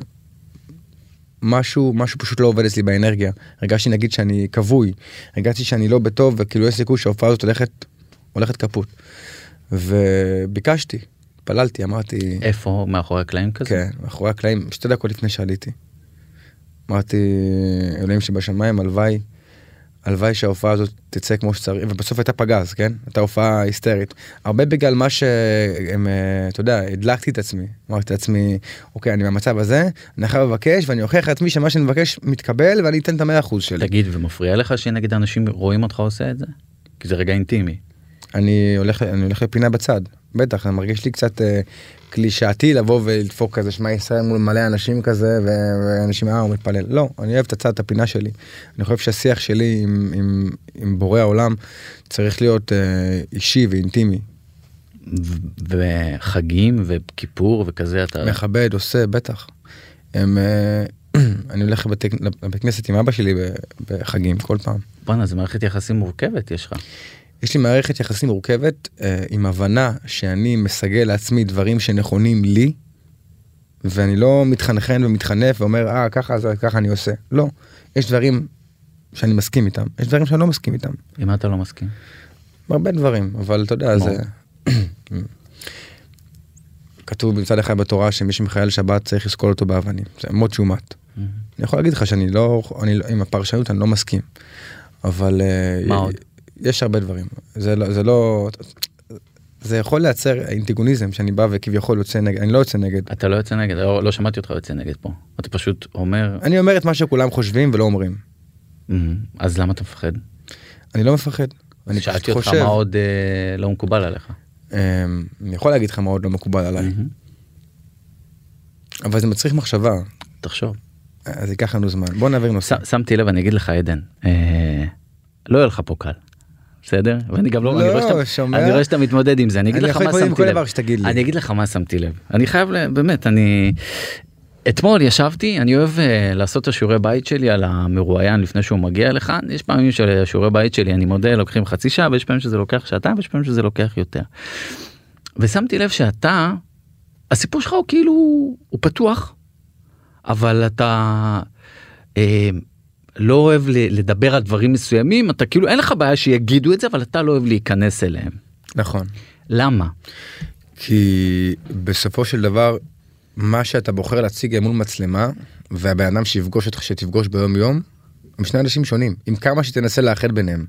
Speaker 3: משהו משהו פשוט לא עובד אצלי באנרגיה הרגשתי נגיד שאני כבוי הרגשתי שאני לא בטוב וכאילו יש סיכוי שההופעה הזאת הולכת הולכת כפות. וביקשתי פללתי אמרתי
Speaker 2: איפה מאחורי הקלעים כזה?
Speaker 3: כן מאחורי הקלעים שתי דקות לפני שעליתי. אמרתי אלוהים שבשמיים הלוואי הלוואי שההופעה הזאת תצא כמו שצריך, ובסוף הייתה פגז, כן? הייתה הופעה היסטרית. הרבה בגלל מה שהם, אה, אתה יודע, הדלקתי את עצמי. אמרתי לעצמי, אוקיי, אני במצב הזה, אני חייב לבקש, ואני אוכיח לעצמי שמה שאני מבקש מתקבל, ואני אתן את המאה אחוז שלי.
Speaker 2: תגיד, ומפריע לך שנגיד אנשים רואים אותך עושה את זה? כי זה רגע אינטימי.
Speaker 3: אני הולך, אני הולך לפינה בצד, בטח, אני מרגיש לי קצת אה, קלישאתי לבוא ולדפוק כזה, שמע ישראל מול מלא אנשים כזה, ו- ואנשים, אה, הוא מתפלל. לא, אני אוהב את הצד, את הפינה שלי. אני חושב שהשיח שלי עם, עם, עם בורא העולם צריך להיות אה, אישי ואינטימי.
Speaker 2: ו- וחגים וכיפור וכזה אתה...
Speaker 3: מכבד, עושה, בטח. הם, אה, אני הולך לבתי- לבית כנסת עם אבא שלי ב- בחגים, כל פעם.
Speaker 2: בואנה, זו מערכת יחסים מורכבת יש לך.
Speaker 3: יש לי מערכת יחסים מורכבת אה, עם הבנה שאני מסגל לעצמי דברים שנכונים לי, ואני לא מתחנחן ומתחנף ואומר, אה, ככה, אז ככה אני עושה. לא. יש דברים שאני מסכים איתם, יש דברים שאני לא מסכים איתם.
Speaker 2: עם מה אתה לא מסכים?
Speaker 3: הרבה דברים, אבל אתה יודע,
Speaker 2: כמו?
Speaker 3: זה... כתוב מצד אחד בתורה שמי שמחלל שבת צריך לסקול אותו באבנים, זה מות שהוא מת.
Speaker 2: Mm-hmm.
Speaker 3: אני יכול להגיד לך שאני לא, אני, לא- עם הפרשנות אני לא מסכים, אבל... אה,
Speaker 2: מה עוד?
Speaker 3: יש הרבה דברים, זה לא, זה לא... זה יכול לייצר אינטגוניזם שאני בא וכביכול יוצא נגד, אני לא יוצא נגד.
Speaker 2: אתה לא יוצא נגד, לא, לא שמעתי אותך יוצא נגד פה. אתה פשוט אומר,
Speaker 3: אני אומר את מה שכולם חושבים ולא אומרים.
Speaker 2: "אמ, אז למה אתה מפחד?
Speaker 3: אני לא מפחד, אני פשוט
Speaker 2: שאלתי אותך
Speaker 3: חושב.
Speaker 2: מה עוד אה, לא מקובל עליך. Mm-hmm.
Speaker 3: אה, אני יכול להגיד לך מה עוד לא מקובל עליי,
Speaker 2: מהמם.
Speaker 3: אבל זה מצריך מחשבה,
Speaker 2: תחשוב.
Speaker 3: אז זה ייקח לנו זמן. בוא נעביר נושא.
Speaker 2: ש- שמתי לב, אני אגיד לך עדן, אה, לא יהיה לך פה קל. בסדר? ואני גם לא, אני,
Speaker 3: לא,
Speaker 2: רואה שאתה,
Speaker 3: שומע?
Speaker 2: אני רואה שאתה מתמודד עם זה, אני אגיד
Speaker 3: אני
Speaker 2: לך
Speaker 3: יכול
Speaker 2: מה
Speaker 3: להתמודד עם
Speaker 2: שמתי
Speaker 3: כל
Speaker 2: לב.
Speaker 3: דבר שתגיד לי.
Speaker 2: אני אגיד לך מה שמתי לב. אני חייב, ל- באמת, אני... אתמול ישבתי, אני אוהב uh, לעשות את השיעורי בית שלי על המרואיין לפני שהוא מגיע לכאן. יש פעמים שלשיעורי בית שלי, אני מודה, לוקחים חצי שעה, ויש פעמים שזה לוקח שעתיים, ויש פעמים שזה לוקח יותר. ושמתי לב שאתה, הסיפור שלך הוא כאילו, הוא פתוח, אבל אתה אה, לא אוהב ל- לדבר על דברים מסוימים, אתה כאילו, אין לך בעיה שיגידו את זה, אבל אתה לא אוהב להיכנס אליהם.
Speaker 3: נכון.
Speaker 2: למה?
Speaker 3: כי בסופו של דבר, מה שאתה בוחר להציג מול מצלמה, והבן אדם שיפגוש אותך, שתפגוש ביום יום, הם שני אנשים שונים, עם כמה שתנסה לאחד ביניהם.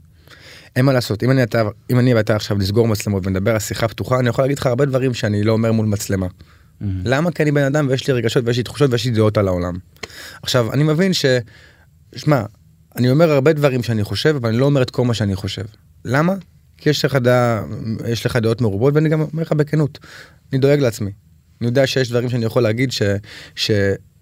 Speaker 3: אין מה לעשות, אם אני, אתה, אם אני ואתה עכשיו נסגור מצלמות ונדבר על שיחה פתוחה, אני יכול להגיד לך הרבה דברים שאני לא אומר מול מצלמה. למה? כי אני בן אדם ויש לי רגשות ויש לי תחושות ויש לי דעות על העולם. עכשיו, אני מבין ש... שמע, אני אומר הרבה דברים שאני חושב, אבל אני לא אומר את כל מה שאני חושב. למה? כי יש לך, דעה, יש לך דעות מרובות, ואני גם אומר לך בכנות, אני דואג לעצמי. אני יודע שיש דברים שאני יכול להגיד ש...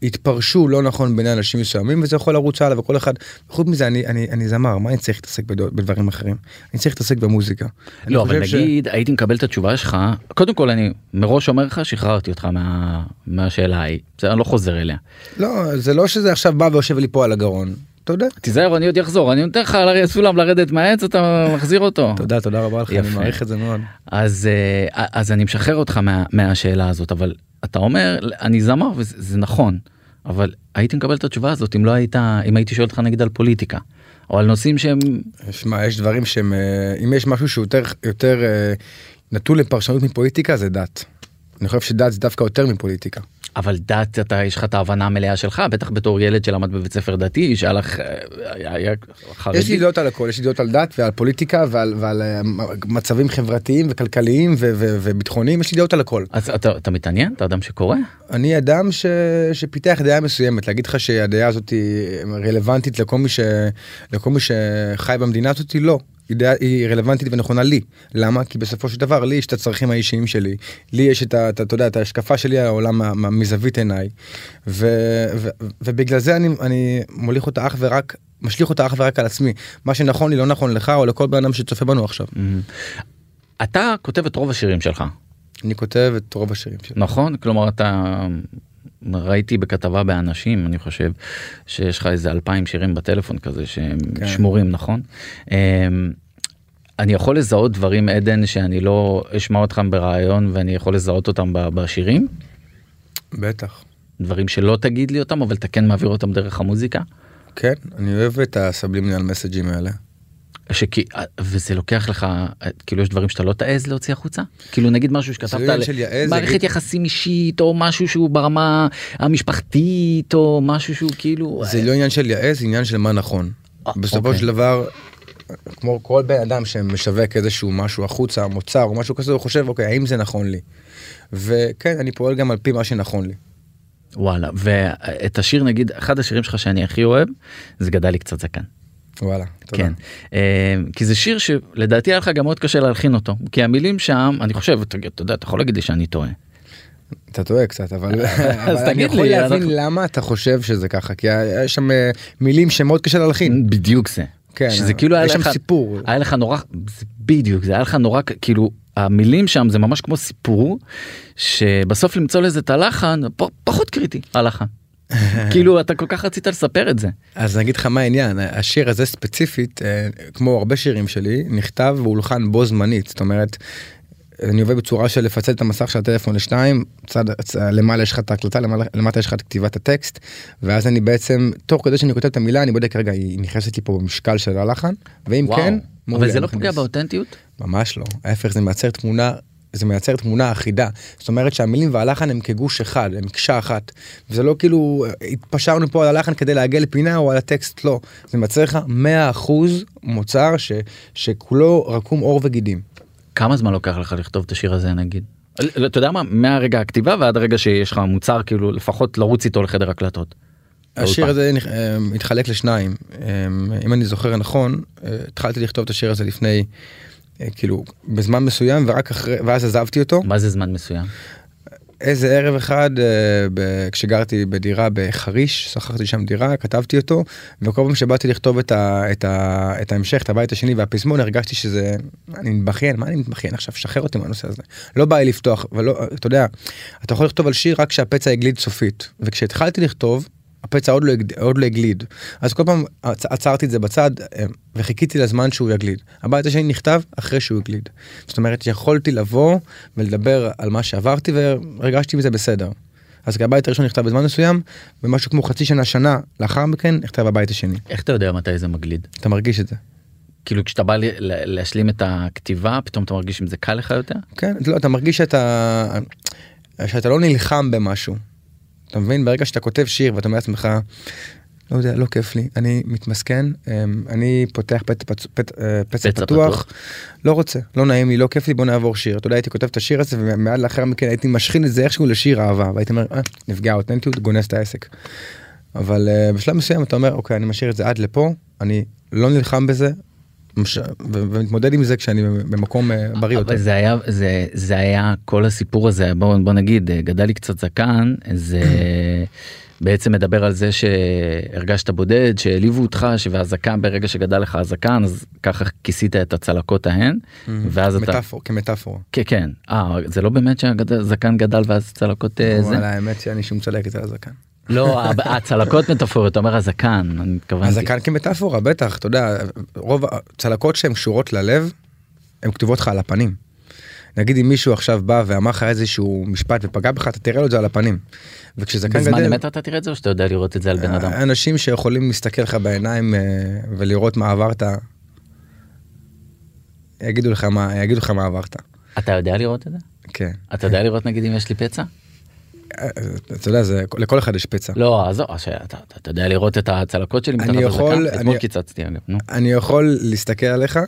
Speaker 3: שהתפרשו לא נכון בין אנשים מסוימים, וזה יכול לרוץ הלאה, וכל אחד... חוץ מזה, אני, אני, אני זמר, מה אני צריך להתעסק בדו- בדברים אחרים? אני צריך להתעסק במוזיקה. אני
Speaker 2: לא, אבל
Speaker 3: חושב ש-
Speaker 2: נגיד, הייתי מקבל את התשובה שלך, קודם כל אני מראש אומר לך, שחררתי אותך מה- מהשאלה ההיא, בסדר, אני לא חוזר אליה.
Speaker 3: לא, זה לא שזה עכשיו בא ויושב לי פה על הגרון. אתה יודע.
Speaker 2: תיזהר, אני עוד אחזור, אני נותן לך על הרי הסולם לרדת מהעץ, אתה מחזיר אותו.
Speaker 3: תודה, תודה רבה לך, אני
Speaker 2: יפה.
Speaker 3: מעריך את זה מאוד.
Speaker 2: אז, אה, אז אני משחרר אותך מה, מהשאלה הזאת, אבל אתה אומר, אני זמר וזה זה נכון, אבל הייתי מקבל את התשובה הזאת אם לא היית, אם הייתי שואל אותך נגיד על פוליטיקה, או על נושאים שהם,
Speaker 3: שמע, יש דברים שהם, אה, אם יש משהו שהוא יותר, יותר אה, נתון לפרשנות מפוליטיקה, זה דת. אני חושב שדת זה דווקא יותר מפוליטיקה.
Speaker 2: אבל דת, אתה, יש לך את ההבנה המלאה שלך, בטח בתור ילד שלמד בבית ספר דתי, שהיה לך, אה, היה היה חרדי.
Speaker 3: יש לי דעות על הכל, יש לי דעות על דת ועל פוליטיקה ועל, ועל אה, מ- מצבים חברתיים וכלכליים ו- ו- וביטחוניים, יש לי דעות על הכל.
Speaker 2: אז אתה, אתה מתעניין? אתה אדם שקורא?
Speaker 3: אני אדם ש... שפיתח דעה מסוימת, להגיד לך שהדעה הזאת היא רלוונטית לכל מי, ש... לכל מי שחי במדינה הזאת, לא. היא, דעה, היא רלוונטית ונכונה לי. למה? כי בסופו של דבר לי יש את הצרכים האישיים שלי, לי יש את, ה- את, ה- אתה יודע, את ההשקפה שלי על העולם מה- מה- מזווית עיניי, ו... ו... ובגלל זה אני, אני מוליך אותה אך ורק, משליך אותה אך ורק על עצמי. מה שנכון לי לא נכון לך או לכל בן אדם שצופה בנו עכשיו.
Speaker 2: אתה כותב את רוב השירים שלך,
Speaker 3: אני כותב את רוב השירים שלי.
Speaker 2: נכון? כלומר אתה... ראיתי בכתבה באנשים, אני חושב, שיש לך איזה אלפיים שירים בטלפון כזה שהם כן.
Speaker 3: כן.
Speaker 2: שמורים, נכון? אמ, אני יכול לזהות דברים, עדן, שאני לא אשמע אותם ברעיון ואני יכול לזהות אותם ב- בשירים?
Speaker 3: בטח.
Speaker 2: דברים שלא תגיד לי אותם, אבל אתה כן מעביר אותם דרך המוזיקה?
Speaker 3: כן, אני אוהב את הסבלימינל מסג'ים האלה.
Speaker 2: שכי, אה, וזה לוקח לך, כאילו יש דברים שאתה לא תעז להוציא החוצה? כאילו נגיד משהו
Speaker 3: זה
Speaker 2: שכתבת
Speaker 3: עניין
Speaker 2: על
Speaker 3: של יעז,
Speaker 2: מערכת
Speaker 3: יגיד-
Speaker 2: יחסים אישית, או משהו שהוא ברמה המשפחתית, או משהו שהוא כאילו...
Speaker 3: זה לא עניין של יעז, זה עניין של מה נכון. בסופו
Speaker 2: אוקיי.
Speaker 3: של דבר, כמו כל בן אדם שמשווק איזשהו משהו החוצה, מוצר או משהו כזה, הוא חושב, אוקיי, האם זה נכון לי? וכן, אני פועל גם על פי מה שנכון לי.
Speaker 2: וואלה ואת השיר נגיד אחד השירים שלך שאני הכי אוהב זה גדל לי קצת זקן.
Speaker 3: וואלה, תודה.
Speaker 2: כן. אה, כי זה שיר שלדעתי היה לך גם מאוד קשה להלחין אותו כי המילים שם אני חושב אתה אתה יודע אתה יכול להגיד לי שאני טועה.
Speaker 3: אתה טועה קצת, אבל אבל אני
Speaker 2: אה, תגיד
Speaker 3: יכול
Speaker 2: לי,
Speaker 3: להבין
Speaker 2: אנחנו-
Speaker 3: למה אתה חושב שזה ככה, כי היה- יש שם אה, מילים שמאוד קשה להלחין.
Speaker 2: בדיוק זה.
Speaker 3: כן,
Speaker 2: שזה כאילו היה
Speaker 3: יש שם
Speaker 2: לך,
Speaker 3: סיפור.
Speaker 2: היה לך נורא, זה בדיוק, זה היה לך נורא, כאילו, המילים שם זה ממש כמו סיפור, שבסוף למצוא לזה את הלחן, פ- פחות קריטי, הלחן. כאילו, אתה כל כך רצית לספר את זה.
Speaker 3: אז אני אגיד לך מה העניין, השיר הזה ספציפית, אה, כמו הרבה שירים שלי, נכתב והולחן בו זמנית, זאת אומרת, אני עובד בצורה של לפצל את המסך של הטלפון לשניים, צד, צ, למעלה יש לך את ההקלטה, למעלה, למטה יש לך את כתיבת הטקסט, ואז אני בעצם, תוך כדי שאני כותב את המילה, אני בודק רגע, היא נכנסת לי פה במשקל של הלחן, ואם
Speaker 2: וואו.
Speaker 3: כן,
Speaker 2: אבל זה לא
Speaker 3: מכניס.
Speaker 2: פוגע באותנטיות?
Speaker 3: ממש לא, ההפך זה מייצר תמונה, זה מייצר תמונה אחידה. זאת אומרת שהמילים והלחן הם כגוש אחד, הם מקשה אחת. וזה לא כאילו אה, התפשרנו פה על הלחן כדי להגיע לפינה או על הטקסט, לא. זה מייצר לך 100% מוצר ש, שכולו רקום עור וגידים.
Speaker 2: כמה זמן לוקח לך לכתוב את השיר הזה, נגיד? לא, אתה יודע מה, מהרגע הכתיבה ועד הרגע שיש לך מוצר, כאילו, לפחות לרוץ איתו לחדר הקלטות.
Speaker 3: השיר
Speaker 2: באולפן.
Speaker 3: הזה נכ- אה, התחלק לשניים. אה, אם אני זוכר נכון, אה, התחלתי לכתוב את השיר הזה לפני, אה, כאילו, בזמן מסוים, ורק אחרי, ואז עזבתי אותו.
Speaker 2: מה זה זמן מסוים?
Speaker 3: איזה ערב אחד אה, ב- כשגרתי בדירה בחריש שכרתי שם דירה כתבתי אותו וכל פעם שבאתי לכתוב את, ה, את, ה, את ההמשך את הבית השני והפזמון הרגשתי שזה אני מתבכיין מה אני מתבכיין עכשיו שחרר אותי מהנושא הזה לא בא לי לפתוח אבל לא אתה יודע אתה יכול לכתוב על שיר רק כשהפצע הגליד סופית וכשהתחלתי לכתוב. הפצע עוד לא, הגד- עוד לא הגליד אז כל פעם עצ- עצרתי את זה בצד אה, וחיכיתי לזמן שהוא יגליד הבית השני נכתב אחרי שהוא הגליד זאת אומרת יכולתי לבוא ולדבר על מה שעברתי והרגשתי מזה בסדר. אז הבית הראשון נכתב בזמן מסוים ומשהו כמו חצי שנה שנה לאחר מכן נכתב הבית השני
Speaker 2: איך אתה יודע מתי זה מגליד?
Speaker 3: אתה מרגיש את זה.
Speaker 2: כאילו, כשאתה בא ל- ל- להשלים את הכתיבה, פתאום אתה מרגיש אם זה קל לך יותר?
Speaker 3: כן, אתה לא, אתה מרגיש שאתה, שאתה לא נלחם במשהו. אתה מבין? ברגע שאתה כותב שיר ואתה אומר לעצמך, לא יודע, לא כיף לי, אני מתמסכן, אמ, אני פותח פת, פת, פת, אה, פצע
Speaker 2: פצע
Speaker 3: פתוח,
Speaker 2: פתוח.
Speaker 3: פתוח, לא רוצה, לא נעים לי, לא כיף לי, בוא נעבור שיר. אתה יודע, הייתי כותב את השיר הזה ומיד לאחר מכן הייתי משכין את זה איכשהו לשיר אהבה, והייתי אומר, אה, נפגע האותנטיות, גונס את העסק. אבל אה, בשלב מסוים אתה אומר, אוקיי, אני משאיר את זה עד לפה, אני לא נלחם בזה. מש- ו- ומתמודד עם זה כשאני במקום אה, בריא יותר.
Speaker 2: אבל זה היה זה זה היה כל הסיפור הזה בוא, בוא נגיד אה, גדל לי קצת זקן זה בעצם מדבר על זה שהרגשת בודד שהעליבו אותך והזקן ברגע שגדל לך הזקן אז ככה כיסית את הצלקות ההן ואז אתה
Speaker 3: מטאפור, כמטאפורה.
Speaker 2: כן כן אה, זה לא באמת שהזקן גדל ואז הצלקות אה, זה
Speaker 3: וואלה, האמת שאין לי שום צלקת על הזקן.
Speaker 2: לא ה- הצלקות מטאפוריות אתה אומר הזקן אני כאילו, התכוונתי
Speaker 3: הזקן כמטאפורה, בטח, אתה יודע, רוב הצלקות שהן קשורות ללב, הן כתובות לך על הפנים. נגיד אם מישהו עכשיו בא ואמר לך איזשהו משפט ופגע בך, אתה תראה לו את זה על הפנים. וכשזקן
Speaker 2: בזמן
Speaker 3: גדל, אה,
Speaker 2: אמת אתה תראה את זה או שאתה יודע לראות את זה על בן אדם
Speaker 3: אנשים שיכולים להסתכל לך בעיניים אה, ולראות מה עברת, יגידו לך מה, יגידו לך מה עברת.
Speaker 2: אתה יודע לראות את זה
Speaker 3: כן.
Speaker 2: אתה יודע לראות נגיד אם יש לי פצע.
Speaker 3: אה, אתה יודע, זה- לכל אחד יש פצע.
Speaker 2: לא, עזוב, הש- אתה אתה- אתה יודע לראות את הצלקות שלי מתחת
Speaker 3: אני יכול-
Speaker 2: לזקן? אתמול
Speaker 3: אני-
Speaker 2: קיצצתי אגב, נו.
Speaker 3: אני יכול להסתכל עליך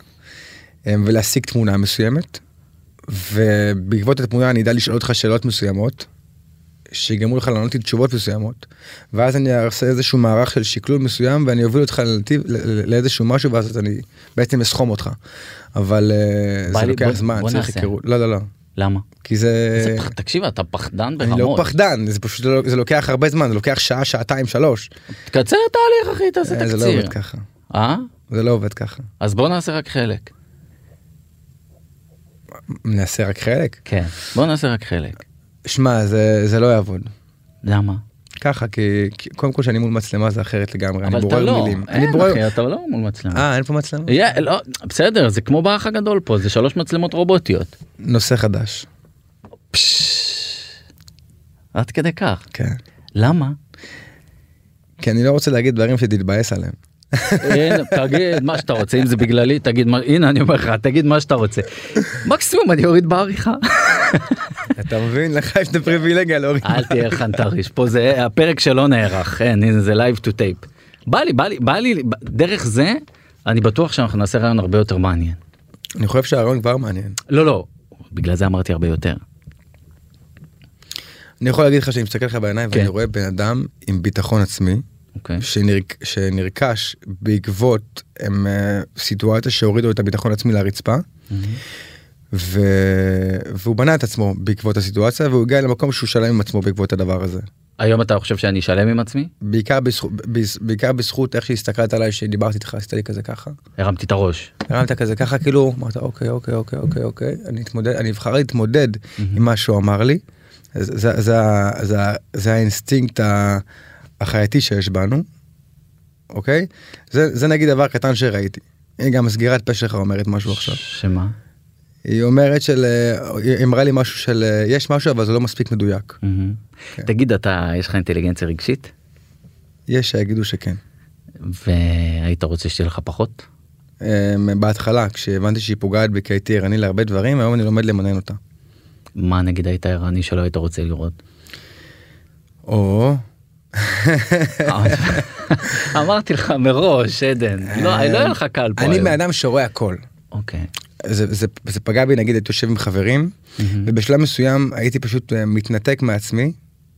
Speaker 3: אה, ולהשיג תמונה מסוימת, ובעקבות התמונה אני אדע לשאול אותך שאלות מסוימות, שיגרמו לך לענות לי תשובות מסוימות, ואז אני אעשה איזשהו מערך של שקלול מסוים ואני אוביל אותך לנתיב, ל- ל- לאיזשהו משהו ואז אני בעצם אסכום אותך. אבל אה,
Speaker 2: בא
Speaker 3: זה
Speaker 2: לי-
Speaker 3: לוקח
Speaker 2: בוא-
Speaker 3: זמן,
Speaker 2: בוא
Speaker 3: צריך
Speaker 2: נעשה.
Speaker 3: היכרות. לא, לא, לא.
Speaker 2: למה?
Speaker 3: כי זה...
Speaker 2: איזה פח- תקשיב, אתה פחדן
Speaker 3: אה, אני
Speaker 2: ברמות.
Speaker 3: לא פחדן, זה פשוט לא- זה לוקח הרבה זמן, זה לוקח שעה, שעתיים, שלוש.
Speaker 2: תקצר תהליך, אחי, תעשה
Speaker 3: אה, זה לא
Speaker 2: תקציר.
Speaker 3: עובד ככה.
Speaker 2: אה?
Speaker 3: זה לא עובד ככה.
Speaker 2: אז בוא נעשה רק חלק.
Speaker 3: נעשה רק חלק.
Speaker 2: כן. בוא נעשה רק חלק.
Speaker 3: שמע, זה, זה לא יעבוד.
Speaker 2: למה?
Speaker 3: ככה, כי, כי קודם כל שאני מול מצלמה זה אחרת לגמרי, אני
Speaker 2: אבל אתה
Speaker 3: בורר
Speaker 2: לא.
Speaker 3: מילים. אני
Speaker 2: אין,
Speaker 3: בורר-
Speaker 2: אחי, אתה לא מול מצלמה.
Speaker 3: אה, אין פה מצלמה?
Speaker 2: יא, לא, בסדר, זה כמו באח הגדול פה, זה שלוש מצלמות רובוטיות.
Speaker 3: נושא חדש.
Speaker 2: פשש. עד כדי כך.
Speaker 3: כן.
Speaker 2: למה?
Speaker 3: כי אני לא רוצה להגיד דברים שתתבאס עליהם.
Speaker 2: אין, תגיד מה שאתה רוצה אם זה בגללי תגיד מה הנה אני אומר לך תגיד מה שאתה רוצה מקסימום אני אוריד בעריכה
Speaker 3: אתה מבין? לך יש את
Speaker 2: אה,
Speaker 3: הפריבילגיה להוריד.
Speaker 2: אל תהיה חנטריש פה זה הפרק שלא נערך אין הנה, זה live to tape בא לי, בא לי, בא לי, דרך זה, אני בטוח שאנחנו נעשה רעיון הרבה יותר מעניין.
Speaker 3: אני חושב שהרעיון כבר מעניין.
Speaker 2: לא, לא, בגלל זה אמרתי הרבה יותר.
Speaker 3: אני יכול להגיד לך שאני מסתכל לך בעיניים
Speaker 2: כן.
Speaker 3: ואני רואה בן אדם עם ביטחון עצמי,
Speaker 2: אוקיי.
Speaker 3: שנרק- שנרכש בעקבות הם, אה, סיטואציה שהורידו את הביטחון העצמי לרצפה. ו... והוא בנה את עצמו בעקבות הסיטואציה והוא הגיע למקום שהוא שלם עם עצמו בעקבות הדבר הזה.
Speaker 2: היום אתה חושב שאני שלם עם עצמי?
Speaker 3: בעיקר בזכות, בז- בעיקר בזכות איך שהסתכלת עליי שדיברתי איתך עשית לי כזה ככה.
Speaker 2: הרמתי את הראש.
Speaker 3: הרמת כזה ככה כאילו אמרת אוקיי אוקיי אוקיי אוקיי אוקיי אני אתמודד אני אבחר להתמודד עם מה שהוא אמר לי. זה, זה, זה, ה- זה, ה- זה האינסטינקט ה- החייתי שיש בנו. אוקיי זה, זה נגיד דבר קטן שראיתי. היא גם סגירת פה שלך אומרת משהו לא עכשיו.
Speaker 2: שמה?
Speaker 3: היא אומרת של אה, היא אמרה לי משהו של אה, יש משהו אבל זה לא מספיק מדויק.
Speaker 2: מהמם.
Speaker 3: כן.
Speaker 2: תגיד, אתה, יש לך אינטליגנציה רגשית?
Speaker 3: יש שיגידו שכן.
Speaker 2: והיית רוצה שתהיה לך פחות?
Speaker 3: אה, בהתחלה כשהבנתי שהיא פוגעת בי כי הייתי ערני להרבה דברים היום אני לומד למנן אותה.
Speaker 2: מה נגיד היית ערני שלא היית רוצה לראות?
Speaker 3: או
Speaker 2: אמרתי לך מראש, עדן, לא לא היה לך קל פה
Speaker 3: אני
Speaker 2: היום.
Speaker 3: בן אדם שרואה הכל.
Speaker 2: אוקיי.
Speaker 3: זה, זה, זה פגע בי נגיד הייתי יושב עם חברים ובשלב מסוים הייתי פשוט אה, מתנתק מעצמי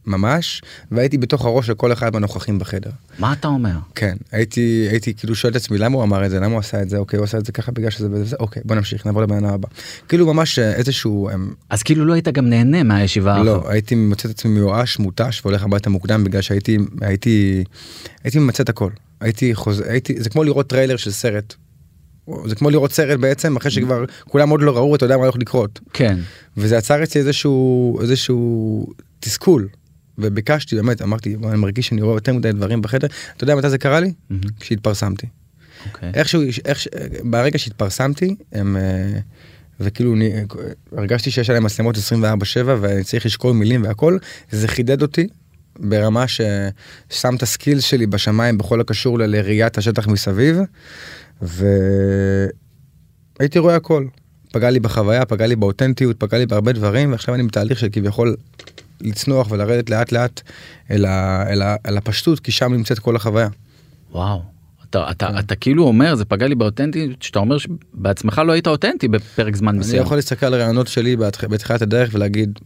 Speaker 3: ממש והייתי בתוך הראש של כל אחד מהנוכחים בחדר.
Speaker 2: מה אתה אומר?
Speaker 3: כן הייתי הייתי כאילו שואל את עצמי למה הוא אמר את זה למה הוא עשה את זה אוקיי הוא עשה את זה ככה בגלל שזה וזה וזה אוקיי בוא נמשיך נעבור לבן אדם הבא. כאילו ממש אה, איזשהו אמ,
Speaker 2: אז כאילו לא היית גם נהנה מהישיבה האחרונה.
Speaker 3: לא הייתי מוצא את עצמי מיואש מותש והולך הביתה מוקדם בגלל שהייתי הייתי הייתי ממצה את הכל הייתי חוזר הייתי זה כמו לראות טריילר של סרט. זה כמו לראות סרט בעצם אחרי שכבר כולם עוד לא ראו אתה יודע מה הולך לקרות
Speaker 2: כן.
Speaker 3: וזה יצר אצלי איזשהו איזשהו תסכול. וביקשתי באמת אמרתי "בוא, אני מרגיש שאני רואה יותר מדי דברים בחדר אתה יודע מתי זה קרה לי
Speaker 2: מהמם.
Speaker 3: כשהתפרסמתי
Speaker 2: אוקיי.
Speaker 3: איכשהו איך, ברגע שהתפרסמתי הם אה, וכאילו אני, אה, הרגשתי שיש עליהם מצלמות 24/7 ואני צריך לשקול מילים והכל זה חידד אותי ברמה ששם את הסקיל שלי בשמיים בכל הקשור ל- לראיית השטח מסביב והייתי רואה הכל. פגע לי בחוויה, פגע לי באותנטיות, פגע לי בהרבה דברים, ועכשיו אני בתהליך של כביכול לצנוח ולרדת לאט לאט אל, ה, אל, ה, אל הפשטות, כי שם נמצאת כל החוויה.
Speaker 2: וואו. אתה,
Speaker 3: כן.
Speaker 2: אתה, אתה כאילו אומר זה פגע לי באותנטיות שאתה אומר שבעצמך לא היית אותנטי בפרק זמן
Speaker 3: אני
Speaker 2: מסוים.
Speaker 3: יכול להסתכל על הרעיונות שלי בהתח- בתחילת הדרך ולהגיד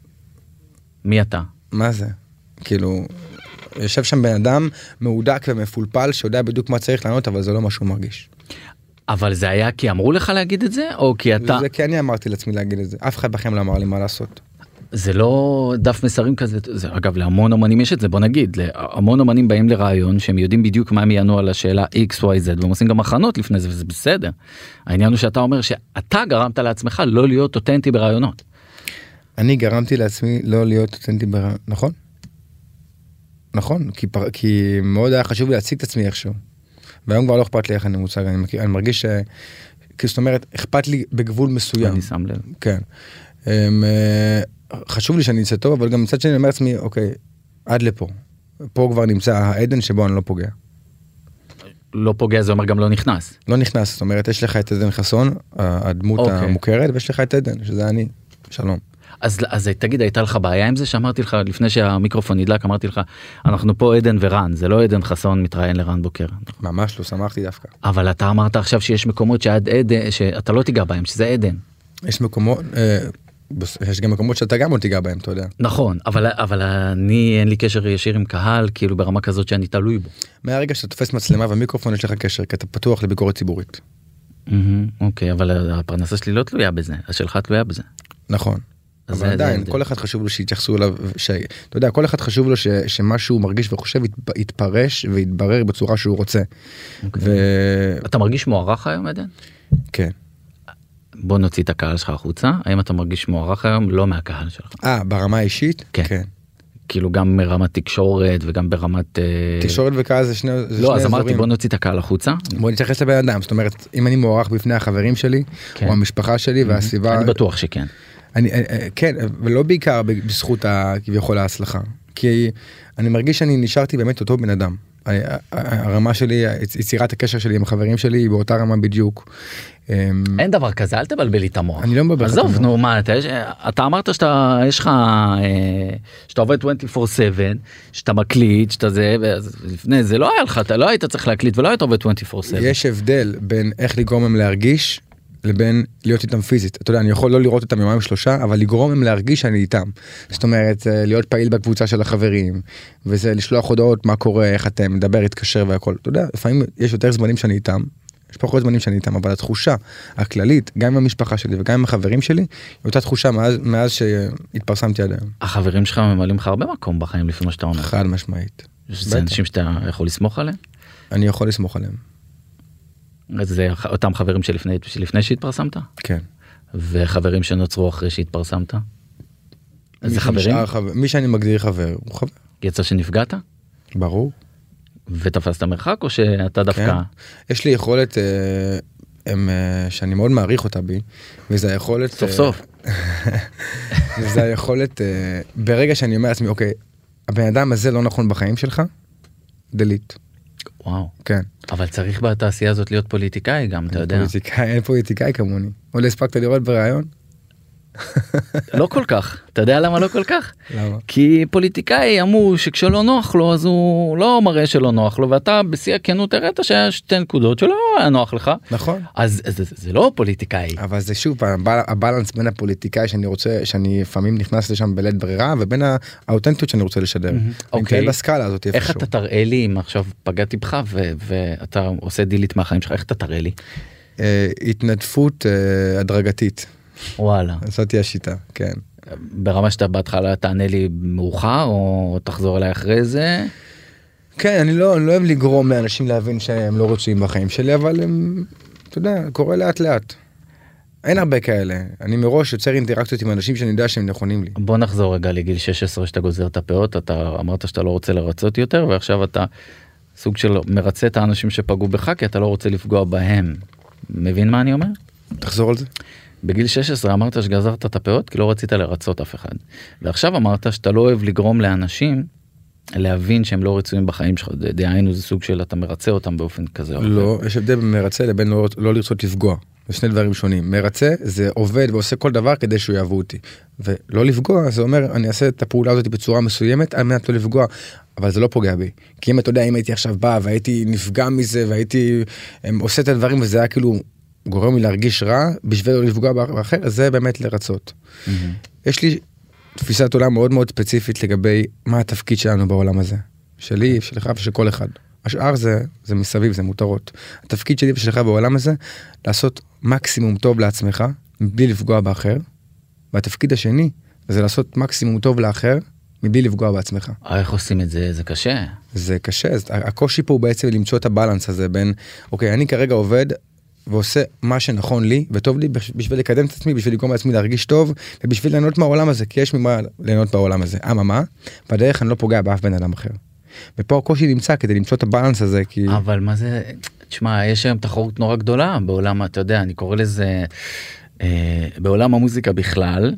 Speaker 2: מי אתה?
Speaker 3: מה זה כאילו יושב שם בן אדם מהודק ומפולפל שיודע בדיוק מה צריך לענות אבל זה לא מה שהוא מרגיש.
Speaker 2: אבל זה היה כי אמרו לך להגיד את זה או כי אתה
Speaker 3: זה כי כן אני אמרתי לעצמי להגיד את זה אף אחד בכם לא אמר לי מה לעשות.
Speaker 2: זה לא דף מסרים כזה זה אגב להמון אמנים יש את זה בוא נגיד להמון אמנים באים לרעיון שהם יודעים בדיוק מה הם יענו על השאלה xyz והם עושים גם הכנות לפני זה וזה בסדר. העניין הוא שאתה אומר שאתה גרמת לעצמך לא להיות אותנטי ברעיונות.
Speaker 3: אני גרמתי לעצמי לא להיות אותנטי בר... נכון? נכון כי, פר... כי מאוד היה חשוב לי להציג את עצמי איכשהו. והיום כבר לא אכפת לי איך אני מוצג אני, מכיר- אני מרגיש ש... כאילו, זאת אומרת אכפת לי בגבול מסוים.
Speaker 2: אני שם לב.
Speaker 3: כן. אמ, אה, חשוב לי שאני אצא טוב, אבל גם מצד שני אני אומר לעצמי, אוקיי, עד לפה. פה כבר נמצא העדן שבו אני לא פוגע.
Speaker 2: לא פוגע זה אומר גם לא נכנס.
Speaker 3: לא נכנס, זאת אומרת, יש לך את עדן חסון, ה- הדמות
Speaker 2: אוקיי.
Speaker 3: המוכרת, ויש לך את עדן, שזה אני. שלום.
Speaker 2: אז, אז תגיד הייתה לך בעיה עם זה שאמרתי לך לפני שהמיקרופון נדלק אמרתי לך אנחנו פה עדן ורן זה לא עדן חסון מתראיין לרן בוקר
Speaker 3: ממש לא, שמחתי דווקא.
Speaker 2: אבל אתה אמרת עכשיו שיש מקומות שעד עדן שאתה לא תיגע בהם שזה עדן.
Speaker 3: יש מקומות, אה, בס- יש גם מקומות שאתה גם לא תיגע בהם, אתה יודע.
Speaker 2: נכון אבל אבל אני אין לי קשר ישיר עם קהל כאילו ברמה כזאת שאני תלוי בו.
Speaker 3: מהרגע שאתה תופס מצלמה ומיקרופון יש לך קשר, כי אתה פתוח לביקורת ציבורית.
Speaker 2: אוקיי אבל הפרנסה שלי לא תלויה בזה השלך תלויה בזה.
Speaker 3: נכון.
Speaker 2: אז
Speaker 3: אבל
Speaker 2: זה- זה
Speaker 3: עדיין,
Speaker 2: ההבדל.
Speaker 3: כל אחד חשוב לו שיתייחסו אליו, ש... אתה יודע, כל אחד חשוב לו ש... שמה שהוא מרגיש וחושב ית- יתפרש ויתברר בצורה שהוא רוצה. ו...
Speaker 2: אוקיי. אתה מרגיש מוערך היום עדן?
Speaker 3: כן.
Speaker 2: בוא נוציא את הקהל שלך החוצה האם אתה מרגיש מוערך היום לא מהקהל שלך
Speaker 3: אה, ברמה האישית?
Speaker 2: כן. כאילו גם ברמת תקשורת וגם ברמת אה,
Speaker 3: תקשורת וקהל זה שני, זה שני
Speaker 2: לא, אז אמרתי
Speaker 3: אזורים.
Speaker 2: בוא נוציא את הקהל החוצה.
Speaker 3: בוא נתייחס לבן אדם, זאת אומרת, אם אני מוערך בפני החברים שלי,
Speaker 2: כן.
Speaker 3: או המשפחה שלי והסביבה,
Speaker 2: אני בטוח שכן.
Speaker 3: אני, אה, אה, כן, ולא בעיקר ב- בזכות ה- כביכול ההצלחה. כי אני מרגיש שאני נשארתי באמת אותו בן אדם. אני- ה- ה- הרמה שלי, יצירת הקשר שלי עם החברים שלי היא באותה רמה בדיוק. אמ,
Speaker 2: אין דבר כזה, אל תבלבל לי את המוח.
Speaker 3: אני לא מבלבל לך את
Speaker 2: אה, עזוב,
Speaker 3: המוח.
Speaker 2: נו, מה, אתה, יש- אתה אמרת שאתה, יש לך, אה, שאתה עובד 24/7, שאתה מקליט, שאתה זה, ואז לפני זה לא היה לך, אתה לא היית צריך להקליט ולא היית עובד 24/7.
Speaker 3: יש הבדל בין איך לגרום להם להרגיש לבין להיות איתם פיזית. אתה יודע, אני יכול לא לראות אותם יומיים שלושה, אבל לגרום להם להרגיש שאני איתם. זאת אומרת, אה, להיות פעיל בקבוצה של החברים, וזה לשלוח הודעות מה קורה, איך אתם, לדבר, להתקשר והכל. אתה יודע, לפעמים יש יותר זמנים שאני איתם. יש פחות זמנים שאני איתם, אבל התחושה הכללית, גם עם המשפחה שלי וגם עם החברים שלי, היא אותה תחושה מאז, מאז שהתפרסמתי עד היום.
Speaker 2: החברים שלך ממלאים לך הרבה מקום בחיים לפי מה שאתה אומר.
Speaker 3: חד משמעית.
Speaker 2: זה
Speaker 3: בטח.
Speaker 2: אנשים שאתה יכול לסמוך עליהם?
Speaker 3: אני יכול לסמוך עליהם.
Speaker 2: זה ח- אותם חברים שלפני, שלפני שהתפרסמת?
Speaker 3: כן.
Speaker 2: וחברים שנוצרו אחרי שהתפרסמת?
Speaker 3: מי
Speaker 2: איזה חברים?
Speaker 3: שנשאר חבר- מי שאני מגדיר חבר, הוא חבר.
Speaker 2: יצא שנפגעת?
Speaker 3: ברור.
Speaker 2: ותפסת מרחק או שאתה דווקא...
Speaker 3: כן. יש לי יכולת אה, הם, אה, שאני מאוד מעריך אותה בי, וזה היכולת...
Speaker 2: סוף
Speaker 3: אה,
Speaker 2: סוף.
Speaker 3: וזה היכולת, אה, ברגע שאני אומר לעצמי, אוקיי, הבן אדם הזה לא נכון בחיים שלך, דליט.
Speaker 2: וואו.
Speaker 3: כן.
Speaker 2: אבל צריך בתעשייה הזאת להיות פוליטיקאי גם, אתה יודע.
Speaker 3: פוליטיקאי, אין פוליטיקאי כמוני. עוד לא הספקת לראות בריאיון?
Speaker 2: לא כל כך. אתה יודע למה לא כל כך?
Speaker 3: למה?
Speaker 2: כי פוליטיקאי אמור שכשלא נוח לו אז הוא לא מראה שלא נוח לו ואתה בשיא הכנות הראת שהיה שתי נקודות שלא היה נוח לך.
Speaker 3: נכון.
Speaker 2: אז זה, זה לא פוליטיקאי.
Speaker 3: אבל זה שוב פעם הבל- הבלנס בין הפוליטיקאי שאני רוצה שאני לפעמים נכנס לשם בלית ברירה ובין האותנטיות שאני רוצה לשדר. אני
Speaker 2: אוקיי.
Speaker 3: מתנהל בסקאלה הזאת
Speaker 2: איך
Speaker 3: איפשהו.
Speaker 2: אתה תראה לי אם עכשיו פגעתי בך ו- ואתה עושה דילית מהחיים שלך איך אתה תראה לי
Speaker 3: אה, התנדפות אה, הדרגתית.
Speaker 2: וואלה
Speaker 3: זאתי השיטה, כן.
Speaker 2: ברמה שאתה בהתחלה תענה לי מאוחר או תחזור אליי אחרי זה
Speaker 3: כן, אני לא, אני לא אוהב לגרום לאנשים להבין שהם לא רצויים בחיים שלי, אבל הם, אתה יודע, קורה לאט לאט. אין הרבה כאלה. אני מראש יוצר אינטראקציות עם אנשים שאני יודע שהם נכונים לי.
Speaker 2: בוא נחזור רגע לגיל 16 שאתה גוזר את הפאות אתה אמרת שאתה לא רוצה לרצות יותר ועכשיו אתה סוג של מרצה את האנשים שפגעו בך כי אתה לא רוצה לפגוע בהם. מבין מה אני אומר?
Speaker 3: תחזור על זה.
Speaker 2: בגיל 16 אמרת שגזרת את הפאות כי לא רצית לרצות אף אחד. ועכשיו אמרת שאתה לא אוהב לגרום לאנשים להבין שהם לא רצויים בחיים שלך. ד- דהיינו זה סוג של אתה מרצה אותם באופן כזה. או אחר.
Speaker 3: לא, יש הבדל בין מרצה לבין לא, לא לרצות לפגוע. זה שני דברים שונים. מרצה זה עובד ועושה כל דבר כדי שהוא יאהבו אותי. ולא לפגוע זה אומר אני אעשה את הפעולה הזאת בצורה מסוימת על מנת לא לפגוע. אבל זה לא פוגע בי. כי אם אתה יודע אם הייתי עכשיו בא והייתי נפגע מזה והייתי הם, עושה את הדברים וזה היה כאילו גורם לי להרגיש רע בשביל לא לפגוע באחר אז זה באמת לרצות.
Speaker 2: מהמם.
Speaker 3: יש לי תפיסת עולם מאוד מאוד ספציפית לגבי מה התפקיד שלנו בעולם הזה. שלי, שלך ושל כל אחד. השאר זה, זה מסביב, זה מותרות. התפקיד שלי ושלך בעולם הזה, לעשות מקסימום טוב לעצמך, מבלי לפגוע באחר. והתפקיד השני, זה לעשות מקסימום טוב לאחר, מבלי לפגוע בעצמך.
Speaker 2: אה, איך עושים את זה? זה קשה.
Speaker 3: זה קשה, אז הקושי פה הוא בעצם למצוא את הבלנס הזה בין, אוקיי, אני כרגע עובד ועושה מה שנכון לי וטוב לי בש- בשביל לקדם את עצמי, בשביל לגרום לעצמי להרגיש טוב ובשביל ליהנות מהעולם הזה, כי יש ממה ליהנות בעולם הזה. אממה, בדרך אני לא פוגע באף בן אדם אחר. ופה הקושי נמצא כדי למצוא את הבלנס הזה, כי...
Speaker 2: אבל מה זה, תשמע, יש היום תחרות נורא גדולה בעולם, אתה יודע, אני קורא לזה, אה, בעולם המוזיקה בכלל,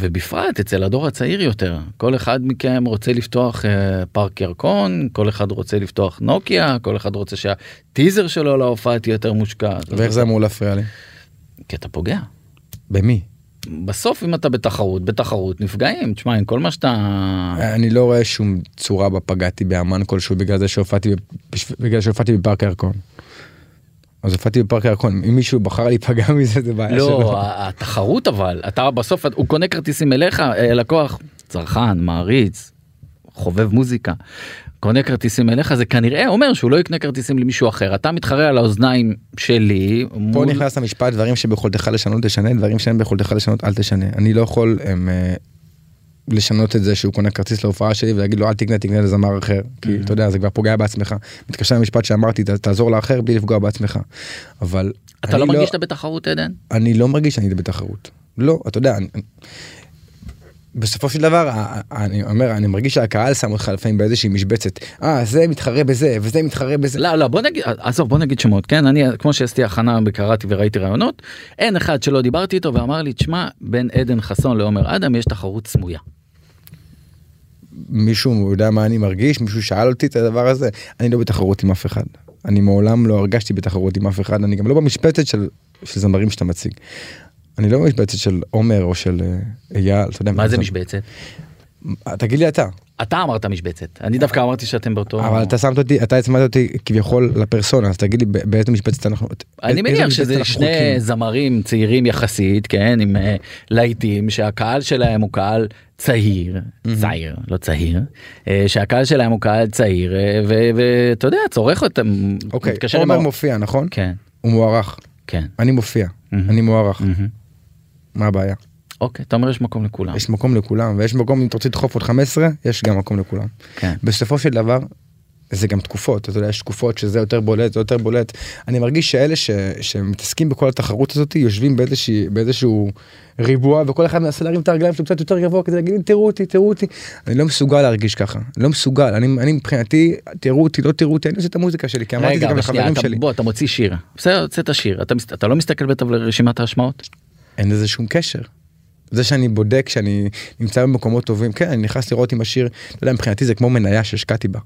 Speaker 2: ובפרט אצל הדור הצעיר יותר. כל אחד מכם רוצה לפתוח אה, פארק ירקון, כל אחד רוצה לפתוח נוקיה, כל אחד רוצה שהטיזר שלו להופעה תהיה יותר מושקעת.
Speaker 3: ואיך זה אמור להפריע לי?
Speaker 2: כי אתה פוגע.
Speaker 3: במי?
Speaker 2: בסוף אם אתה בתחרות, בתחרות נפגעים. תשמע, עם כל מה שאתה...
Speaker 3: אני לא רואה שום צורה בה פגעתי באמן כלשהו בגלל זה שהופעתי בשב- בגלל שהופעתי בפארק הירקון. אז הופעתי בפארק הירקון, אם מישהו בחר להיפגע מזה זה בעיה שלו.
Speaker 2: לא, ה- התחרות אבל, אתה בסוף, הוא קונה כרטיסים אליך, אה, לקוח, צרכן, מעריץ, חובב מוזיקה, קונה כרטיסים אליך, זה כנראה אומר שהוא לא יקנה כרטיסים למישהו אחר, אתה מתחרה על האוזניים שלי,
Speaker 3: פה
Speaker 2: מול-
Speaker 3: נכנס למשפט דברים שביכולתך לשנות תשנה דברים שאין ביכולתך לשנות אל תשנה אני לא יכול הם, אה, לשנות את זה שהוא קונה כרטיס להופעה שלי ולהגיד לו אל תקנה תקנה לזמר אחר כי
Speaker 2: Mm-hmm.
Speaker 3: אתה יודע זה כבר פוגע בעצמך מתקשר למשפט שאמרתי "ת- תעזור לאחר בלי לפגוע בעצמך אבל
Speaker 2: אתה לא
Speaker 3: אני
Speaker 2: מרגיש שאתה בתחרות עדן?
Speaker 3: אני לא מרגיש שאני בתחרות. לא, אתה יודע, אני, בסופו של דבר, ה- ה- אני אומר, אני מרגיש שהקהל שם אותך לפעמים באיזושהי משבצת. אה, זה מתחרה בזה, וזה מתחרה בזה.
Speaker 2: לא לא בוא נגיד עזוב בוא נגיד שמות כן אני כמו שעשיתי הכנה וקראתי וראיתי רעיונות אין אחד שלא דיברתי איתו ואמר לי תשמע בין עדן חסון לעומר אדם יש תחרות סמויה.
Speaker 3: מישהו יודע מה אני מרגיש, מישהו שאל אותי את הדבר הזה, אני לא בתחרות עם אף אחד. אני מעולם לא הרגשתי בתחרות עם אף אחד, אני גם לא במשבצת של, של זמרים שאתה מציג. אני לא במשבצת של עומר או של אה, אייל, אתה יודע.
Speaker 2: מה זה
Speaker 3: אתה-
Speaker 2: משבצת?
Speaker 3: תגיד לי אתה,
Speaker 2: אתה אמרת משבצת, אני דווקא אמרתי שאתם באותו...
Speaker 3: אה, אבל אתה שמת אותי, אתה הצמדת אותי כביכול לפרסונה, אז תגיד לי ב- באיזה משבצת אנחנו...
Speaker 2: אני
Speaker 3: איזה
Speaker 2: מניח
Speaker 3: משבצת
Speaker 2: שזה
Speaker 3: אנחנו
Speaker 2: שני
Speaker 3: חולקים?
Speaker 2: זמרים צעירים יחסית, כן, עם אה, להיטים, שהקהל שלהם הוא קהל צעיר, צעיר, לא צעיר, אה, שהקהל שלהם הוא קהל צעיר, אה, ו- ואתה יודע, צורך אותם,
Speaker 3: אוקיי,
Speaker 2: מתקשר עם
Speaker 3: עומר
Speaker 2: ה-
Speaker 3: מופיע, נכון?
Speaker 2: כן,
Speaker 3: הוא מוערך.
Speaker 2: כן,
Speaker 3: אני מופיע,
Speaker 2: מהמם.
Speaker 3: אני מוערך.
Speaker 2: מהמם.
Speaker 3: מה הבעיה?
Speaker 2: אוקיי, אתה אומר יש מקום לכולם,
Speaker 3: יש מקום לכולם, ויש מקום, אם אתה רוצה לדחוף עוד 15, יש גם מקום לכולם.
Speaker 2: כן.
Speaker 3: בסופו של דבר, זה גם תקופות, אתה יודע, יש תקופות שזה יותר בולט, זה יותר בולט. אני מרגיש שאלה ש, שמתעסקים בכל התחרות הזאת, יושבים באיזושהי, באיזשהו ריבוע, וכל אחד מנסה להרים את הרגליים שלו קצת יותר גבוה כדי להגיד, תראו אותי, תראו אותי. אני לא מסוגל להרגיש ככה, אני לא מסוגל, אני, אני מבחינתי, תראו אותי, לא תראו אותי, אני עושה את המוזיקה שלי, כי אמרתי את זה
Speaker 2: רגע,
Speaker 3: גם
Speaker 2: אבל שנייה,
Speaker 3: לחברים
Speaker 2: אתה-
Speaker 3: שלי.
Speaker 2: בוא, אתה מוציא שיר, בסדר, הוצאת שיר, אתה מס- אתה לא מסתכל בטח לרשימת ההשמעות?
Speaker 3: אין לזה שום קשר. זה שאני בודק שאני נמצא במקומות טובים, כן, אני נכנס לראות אם השיר, אתה יודע, מבחינתי זה כמו מניה שהשקעתי בה.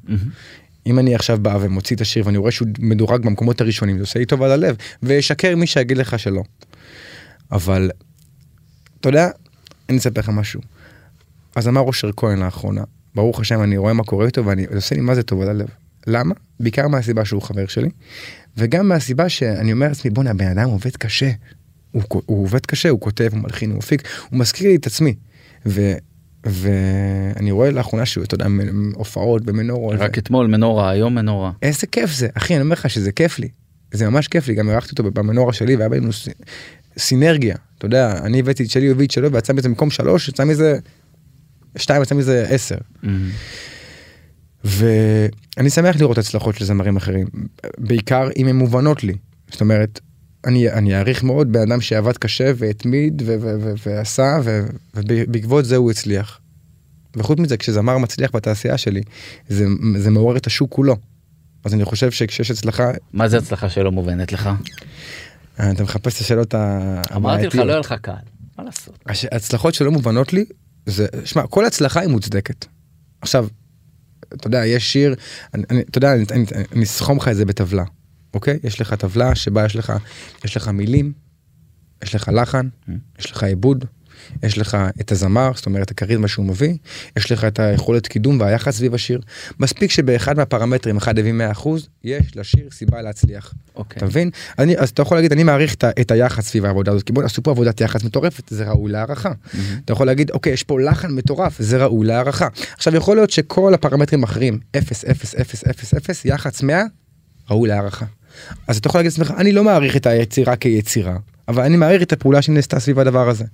Speaker 3: אם אני עכשיו בא ומוציא את השיר ואני רואה שהוא מדורג במקומות הראשונים, זה עושה לי טוב על הלב, וישקר מי שיגיד לך שלא. אבל, אתה יודע, אני אספר לך משהו. אז אמר אושר כהן לאחרונה, ברוך השם, אני רואה מה קורה איתו ואני, זה עושה לי מה זה טוב על הלב. למה? בעיקר מהסיבה שהוא חבר שלי, וגם מהסיבה שאני אומר לעצמי, בואנה, הבן אדם עובד קשה. הוא, כ- הוא עובד קשה, הוא כותב, הוא מלחין, הוא מפיק, הוא מזכיר לי את עצמי. ו... ואני רואה לאחרונה שהוא, אתה יודע, מ- הופעות במנורות. ו-
Speaker 2: רק אתמול מנורה, היום מנורה.
Speaker 3: איזה כיף זה, אחי, אני אומר לך שזה כיף לי. זה ממש כיף לי, גם אירחתי אותו במנורה שלי והיה בינינו ס- סינרגיה. אתה יודע, אני הבאתי את שלי ואת שלו ויצא מזה במקום שלוש, יצא מזה שתיים, יצא מזה עשר.
Speaker 2: מהמם.
Speaker 3: ואני שמח לראות הצלחות של זמרים אחרים, בעיקר אם הן מובנות לי. זאת אומרת, אני, אני אעריך מאוד בן אדם שעבד קשה והתמיד ו- ו- ו- ועשה, ו- ובעקבות זה הוא הצליח. וחוץ מזה, כשזמר מצליח בתעשייה שלי, זה, זה מעורר את השוק כולו. אז אני חושב שכשיש הצלחה,
Speaker 2: מה זה הצלחה שלא מובנת לך?
Speaker 3: אה, אתה מחפש את השאלות ה-
Speaker 2: אמרתי לך,
Speaker 3: הבעייתיות.
Speaker 2: לא היה לך קהל, מה לעשות?
Speaker 3: הש- הצלחות שלא מובנות לי זה שמע כל הצלחה היא מוצדקת. עכשיו. אתה יודע יש שיר אני, אני אתה יודע אני- אני אני אסכום לך את זה בטבלה אוקיי יש לך טבלה שבה יש לך יש לך מילים. יש לך לחן
Speaker 2: Mm.
Speaker 3: יש לך עיבוד. יש לך את הזמר זאת אומרת הכריזמה שהוא מביא יש לך את היכולת קידום והיחס סביב השיר מספיק שבאחד מהפרמטרים אחד הביא 100% יש לשיר סיבה להצליח.
Speaker 2: אוקיי.
Speaker 3: אתה מבין? אני, אז אתה יכול להגיד, אני מעריך את, ה- את היחס סביב העבודה הזאת, כי בוא'נה, עשו פה עבודת יחס מטורפת, זה ראוי להערכה.
Speaker 2: Mm-hmm.
Speaker 3: אתה יכול להגיד, אוקיי, יש פה לחן מטורף, זה ראוי להערכה. עכשיו, יכול להיות שכל הפרמטרים האחרים, 0, 0, 0, 0, 0, יח"צ 100, ראוי להערכה. אז אתה יכול להגיד לעצמך, אני לא מעריך את היצירה כיצירה, אבל אני מעריך את הפעולה שנעשתה סביב הדבר הזה.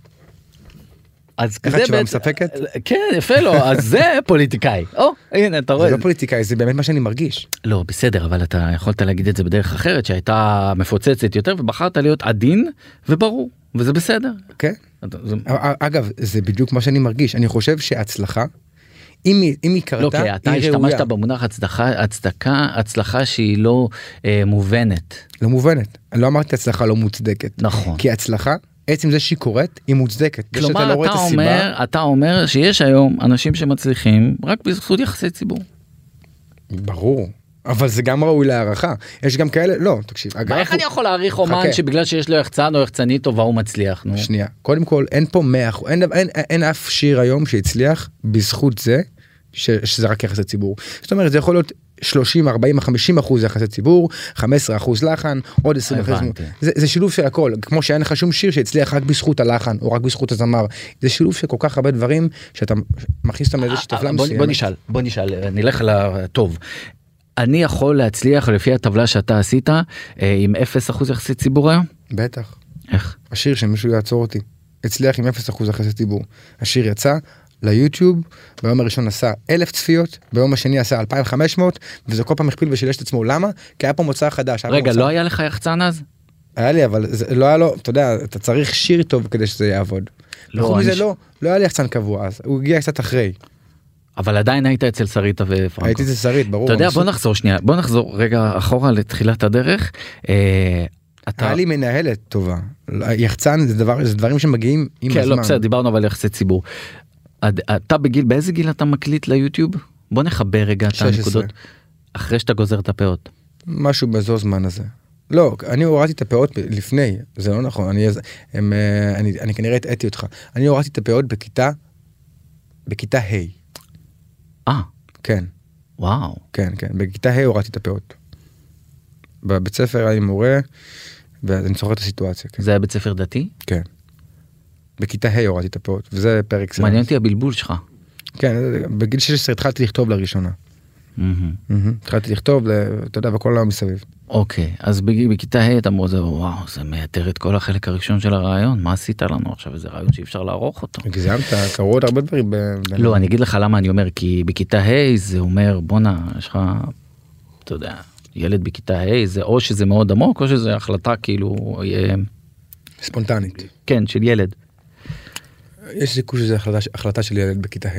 Speaker 2: אז
Speaker 3: איך
Speaker 2: זה
Speaker 3: התשובה
Speaker 2: בעצם-
Speaker 3: מספקת?
Speaker 2: כן, יפה לו, אז זה פוליטיקאי. או, הנה, אתה רואה.
Speaker 3: זה לא פוליטיקאי, זה באמת מה שאני מרגיש.
Speaker 2: לא, בסדר, אבל אתה יכולת להגיד את זה בדרך אחרת שהייתה מפוצצת יותר, ובחרת להיות עדין וברור, וזה בסדר.
Speaker 3: כן?
Speaker 2: אתה- זה-
Speaker 3: אגב, זה בדיוק מה שאני מרגיש. אני חושב שהצלחה, אם היא- אם היא קרתה, היא
Speaker 2: לא,
Speaker 3: ראויה.
Speaker 2: כי אתה השתמשת במונח הצדחה- הצדקה, הצלחה שהיא לא אה, מובנת.
Speaker 3: לא מובנת. אני לא אמרתי הצלחה לא מוצדקת.
Speaker 2: נכון.
Speaker 3: כי הצלחה, עצם זה שהיא קורית, היא מוצדקת. זה שאתה לא
Speaker 2: כלומר,
Speaker 3: רואה
Speaker 2: אתה
Speaker 3: את הסיבה,
Speaker 2: אומר, אתה אומר שיש היום אנשים שמצליחים רק בזכות יחסי ציבור.
Speaker 3: ברור. אבל זה גם ראוי להערכה. יש גם כאלה, לא, תקשיב.
Speaker 2: מה,
Speaker 3: הגרף
Speaker 2: איך
Speaker 3: הוא-
Speaker 2: אני יכול להעריך אומן
Speaker 3: חכה.
Speaker 2: שבגלל שיש לו יחצן או יחצנית טובה הוא מצליח? נו.
Speaker 3: כן. שנייה. קודם כל, אין פה 100 אחוז, אין, אין, אין אף שיר היום שהצליח בזכות זה ש, שזה רק יחסי ציבור. זאת אומרת, זה יכול להיות 30, 40, 50 אחוז יחסי ציבור, 15 אחוז לחן, עוד 20 אחוז.
Speaker 2: הבנתי.
Speaker 3: זה, זה שילוב של הכל, כמו שאין לך שום שיר שהצליח רק בזכות הלחן או רק בזכות הזמר. זה שילוב של כל כך הרבה דברים שאתה מכניס אותם לאיזושהי
Speaker 2: אה,
Speaker 3: טבלה
Speaker 2: בוא-
Speaker 3: מסוימת.
Speaker 2: בוא נשאל, בוא נשאל, אה, נלך לטוב. אני יכול להצליח לפי הטבלה שאתה עשית אה, עם 0% יחסי ציבור היום?
Speaker 3: בטח.
Speaker 2: איך?
Speaker 3: השיר שמישהו יעצור אותי. הצליח עם 0% יחסי ציבור. השיר יצא ליוטיוב, ביום הראשון עשה 1,000 צפיות, ביום השני עשה 2,500, וזה כל פעם הכפיל ושילש את עצמו. למה? כי היה פה מוצא חדש. היה פה
Speaker 2: רגע,
Speaker 3: מוצא...
Speaker 2: לא היה לך יחצן אז?
Speaker 3: היה לי, אבל זה לא היה לו, אתה יודע, אתה צריך שיר טוב כדי שזה יעבוד.
Speaker 2: לא,
Speaker 3: לא,
Speaker 2: אני
Speaker 3: מזה
Speaker 2: ש- אוקיי.
Speaker 3: לא, לא היה לי יחצן קבוע אז, הוא הגיע קצת אחרי.
Speaker 2: אבל עדיין היית אצל שריטה ופרנקו.
Speaker 3: הייתי אצל שרית, ברור.
Speaker 2: אתה יודע,
Speaker 3: מבסוט.
Speaker 2: בוא נחזור שנייה, בוא נחזור רגע אחורה לתחילת הדרך. אה, אתה...
Speaker 3: היה לי מנהלת טובה. יחצן זה, דבר, זה דברים שמגיעים עם
Speaker 2: כן,
Speaker 3: הזמן.
Speaker 2: לא, בסדר, דיברנו אבל על יחסי ציבור. עד- אתה בגיל, באיזה גיל אתה מקליט ליוטיוב? בוא נחבר רגע את
Speaker 3: 16.
Speaker 2: הנקודות. אחרי שאתה גוזר את הפאות.
Speaker 3: משהו באזור זמן הזה. לא, אני הורדתי את הפאות ב- לפני, זה לא נכון, אני, אז- הם, אה, אני, אני כנראה הטעיתי אותך. אני הורדתי את הפאות בכיתה, בכיתה ה',
Speaker 2: אה,
Speaker 3: כן,
Speaker 2: וואו.
Speaker 3: כן, כן, בכיתה ה' הורדתי את הפאות. בבית ספר היה לי מורה, ואני זוכר את הסיטואציה, כן.
Speaker 2: זה היה בית ספר דתי?
Speaker 3: כן. בכיתה ה' הורדתי את הפאות, וזה פרק סלאנס.
Speaker 2: מעניין אותי הבלבול שלך.
Speaker 3: כן, בגיל 16 התחלתי לכתוב לראשונה.
Speaker 2: מהמם.
Speaker 3: מהמם. התחלתי לכתוב, ל- אתה יודע, וכל היום מסביב.
Speaker 2: אוקיי, אז בג- בכיתה ה' אתה אומר, וואו, זה מייתר את כל החלק הראשון של הרעיון, מה עשית לנו עכשיו? איזה רעיון שאי אפשר לערוך אותו.
Speaker 3: כן. הגזמת, קרו עוד הרבה דברים. ב- ב-
Speaker 2: לא, אני אגיד לך למה אני אומר, כי בכיתה ה' זה אומר, בואנה, יש לך, אתה יודע, ילד בכיתה ה' זה או שזה מאוד עמוק, או שזה החלטה כאילו, אה,
Speaker 3: ספונטנית.
Speaker 2: כן, של ילד.
Speaker 3: יש סיכוי שזו החלטה, החלטה של ילד בכיתה ה'.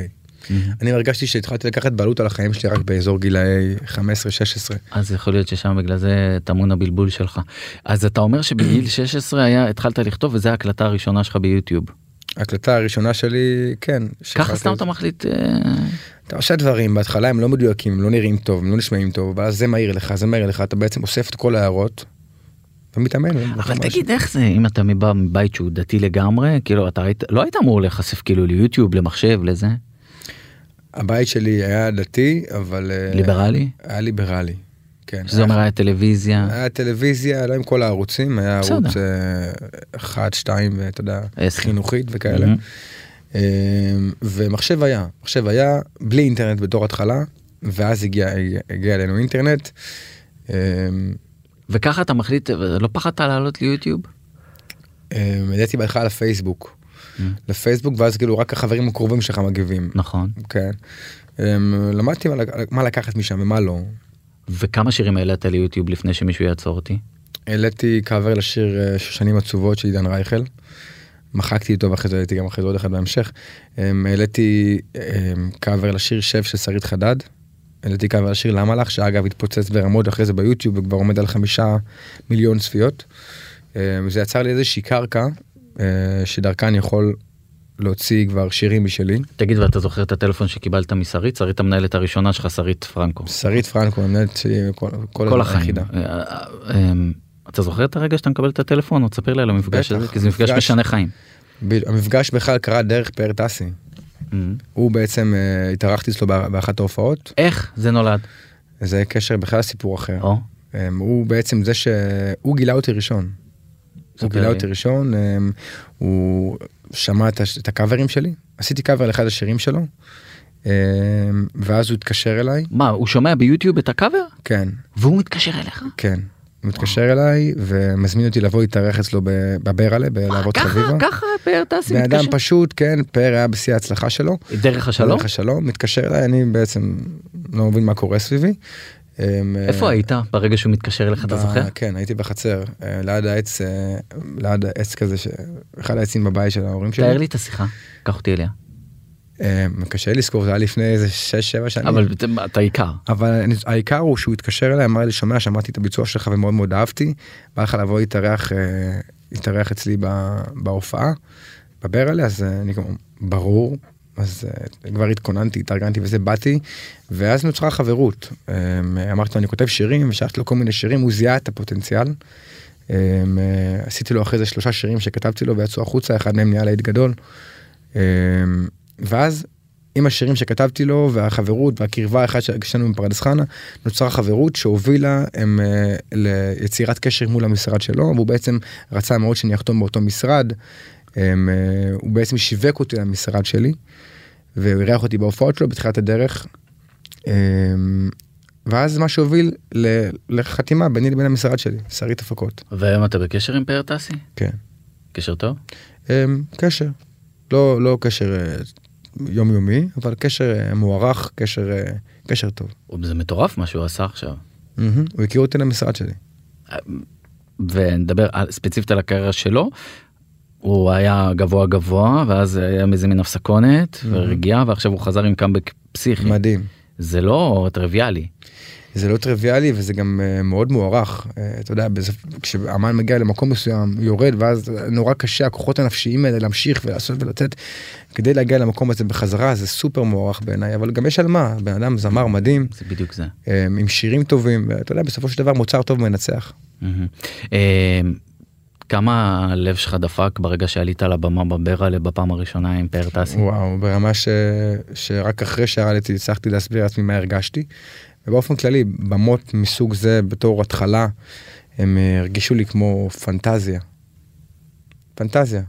Speaker 3: אני הרגשתי שהתחלתי לקחת בעלות על החיים שלי רק באזור גילאי 15-16.
Speaker 2: אז יכול להיות ששם בגלל זה טמון הבלבול שלך. אז אתה אומר שבגיל 16 היה, התחלת לכתוב וזו ההקלטה הראשונה שלך ביוטיוב.
Speaker 3: ההקלטה הראשונה שלי, כן.
Speaker 2: ככה
Speaker 3: שחררתי
Speaker 2: סתם
Speaker 3: את-
Speaker 2: אתה מחליט, אה,
Speaker 3: אתה עושה דברים, בהתחלה הם לא מדויקים, הם לא נראים טוב, הם לא נשמעים טוב, ואז זה מהיר לך, זה מהיר לך, אתה בעצם אוסף את כל ההערות, ומתאמן.
Speaker 2: אבל
Speaker 3: ממש.
Speaker 2: תגיד איך זה אם אתה מבא מבית שהוא דתי לגמרי כאילו אתה היית לא היית אמור להיחשף כאילו ליוטיוב למחשב לזה
Speaker 3: אה, הבית שלי היה דתי, אבל... אה,
Speaker 2: ליברלי
Speaker 3: היה ליברלי, כן.
Speaker 2: שזה אומר היה טלוויזיה
Speaker 3: היה טלוויזיה, לא עם כל הערוצים, היה
Speaker 2: בסדר.
Speaker 3: ערוץ אה, אחד, שתיים, ואתה יודע,
Speaker 2: עשר.
Speaker 3: חינוכית וכאלה.
Speaker 2: מהמם.
Speaker 3: אמ, ומחשב היה, מחשב היה בלי אינטרנט בתור התחלה, ואז הגיע, הגיע אלינו אינטרנט. אמ,
Speaker 2: וככה אתה מחליט לא פחדת לעלות ליוטיוב
Speaker 3: אמ, ידעתי בהתחלה לפייסבוק, לפייסבוק, ואז כאילו רק החברים הקרובים שלך מגיבים.
Speaker 2: נכון
Speaker 3: כן. אמ, למדתי מה לק- מה לקחת משם ומה לא.
Speaker 2: וכמה שירים העלית ליוטיוב לפני שמישהו יעצור אותי
Speaker 3: העליתי קאבר לשיר אה, שושנים עצובות של עידן רייכל. מחקתי אותו ואחרי זה העליתי גם אחרי זה עוד אחד בהמשך. אמ, העליתי אמ, קאבר לשיר שב של שרית חדד. העליתי קאבר לשיר למה לך שאגב התפוצץ ברמות אחרי זה ביוטיוב וכבר עומד על חמישה מיליון צפיות. אמ, זה יצר לי איזושהי קרקע אה, שדרכה אני יכול להוציא כבר שירים משלי.
Speaker 2: תגיד ואתה זוכר את הטלפון שקיבלת משרית שרית המנהלת הראשונה שלך שרית פרנקו
Speaker 3: שרית פרנקו, המנהלת שלי כל, כל,
Speaker 2: כל
Speaker 3: הזמן
Speaker 2: החיים
Speaker 3: היחידה.
Speaker 2: אה, אה, אה, אתה זוכר את הרגע שאתה מקבל את הטלפון או תספר לי על המפגש
Speaker 3: בטח,
Speaker 2: הזה כי זה מפגש
Speaker 3: מפגש-
Speaker 2: משנה חיים.
Speaker 3: ב- המפגש בכלל קרה דרך פאר טאסי.
Speaker 2: אמ.
Speaker 3: הוא בעצם אה, התארחתי אצלו בא- באחת ההופעות.
Speaker 2: איך זה נולד
Speaker 3: כן. זה קשר בכלל סיפור אחר.
Speaker 2: או,
Speaker 3: אמ, הוא בעצם זה שהוא גילה אותי ראשון.
Speaker 2: ספר
Speaker 3: הוא גילה
Speaker 2: לי.
Speaker 3: אותי ראשון, אמ, הוא שמע את הש- את הקאברים שלי, עשיתי קאבר לאחד השירים שלו, אמ, ואז הוא התקשר אליי,
Speaker 2: מה הוא שומע ביוטיוב את הקאבר
Speaker 3: כן,
Speaker 2: והוא מתקשר אליך.
Speaker 3: כן. הוא מתקשר אליי ומזמין אותי לבוא להתארח אצלו ב- בברלה, בלהבות
Speaker 2: אה, ככה,
Speaker 3: חביבה.
Speaker 2: ככה פאר טסי
Speaker 3: בן אדם
Speaker 2: מתקשר.
Speaker 3: פשוט, כן, פאר היה בשיא ההצלחה שלו.
Speaker 2: דרך השלום?
Speaker 3: דרך השלום, מתקשר אליי, אני בעצם לא מבין מה קורה סביבי. אמ,
Speaker 2: איפה היית ברגע שהוא מתקשר אליך אתה
Speaker 3: ב-
Speaker 2: זוכר?
Speaker 3: כן, הייתי בחצר, אה, ליד העץ, אה, ליד העץ כזה, ש- אחד העצים בבית של ההורים שלי.
Speaker 2: תאר לי את השיחה, קח אותי אליה.
Speaker 3: אה, קשה לי לזכור, זה היה לפני איזה 6-7 שנים.
Speaker 2: אבל אתה- אתה עיקר.
Speaker 3: אבל אני- העיקר הוא שהוא התקשר אליי, אמר לי, שומע, שמעתי את הביצוע שלך ומאוד מאוד אהבתי, בא לך לבוא להתארח, אה, להתארח אצלי ב- בהופעה, בברלה, אז אה, אני כמו, ברור, אז אה, כבר התכוננתי, התארגנתי וזה, באתי, ואז נוצרה חברות. אה, אמרתי לו, אני כותב שירים, ושלחתי לו כל מיני שירים, הוא זיהה את הפוטנציאל. אה, אה, עשיתי לו אחרי זה שלושה שירים שכתבתי לו ויצאו החוצה, אחד מהם נהיה להיט גדול. אה, ואז עם השירים שכתבתי לו והחברות והקרבה האחד שיש לנו מפרדס חנה נוצרה חברות שהובילה הם, אה, ליצירת קשר מול המשרד שלו והוא בעצם רצה מאוד שאני אחתום באותו משרד. הם, אה, הוא בעצם שיווק אותי למשרד שלי והוא אירח אותי בהופעות שלו בתחילת הדרך. אמ, ואז מה שהוביל ל- לחתימה ביני לבין המשרד שלי, שרית הפקות.
Speaker 2: והיום אתה בקשר עם פאר טסי?
Speaker 3: כן.
Speaker 2: קשר טוב?
Speaker 3: אמ, קשר. לא, לא קשר אה, יומיומי, אבל קשר אה, מוערך, קשר, אה, קשר טוב.
Speaker 2: זה מטורף מה שהוא עשה עכשיו.
Speaker 3: מהמם. הוא הכיר אותי למשרד שלי.
Speaker 2: ונדבר על- ספציפית על הקריירה שלו. הוא היה גבוה גבוה ואז היה איזה מין הפסקונת ורגיעה ועכשיו הוא חזר עם קאמבק פסיכי.
Speaker 3: מדהים.
Speaker 2: זה לא טריוויאלי.
Speaker 3: זה לא טריוויאלי וזה גם אה, מאוד מוערך. אה, אתה יודע, בסוף- כשאמן מגיע למקום מסוים, יורד, ואז נורא קשה הכוחות הנפשיים האלה להמשיך ולעשות ולתת. כדי להגיע למקום הזה בחזרה זה סופר מוערך בעיניי, אבל גם יש על מה, בן אדם זמר מדהים,
Speaker 2: זה בדיוק זה.
Speaker 3: אה, עם שירים טובים, ואתה יודע, בסופו של דבר מוצר טוב מנצח.
Speaker 2: מהמם. אה, כמה הלב שלך דפק ברגע שעלית על הבמה בברלה בפעם הראשונה עם פאר טאסי?
Speaker 3: וואו, ברמה ש... שרק אחרי שירדתי הצלחתי להסביר לעצמי מה הרגשתי. ובאופן כללי, במות מסוג זה בתור התחלה, הם אה, הרגישו לי כמו פנטזיה. פנטזיה.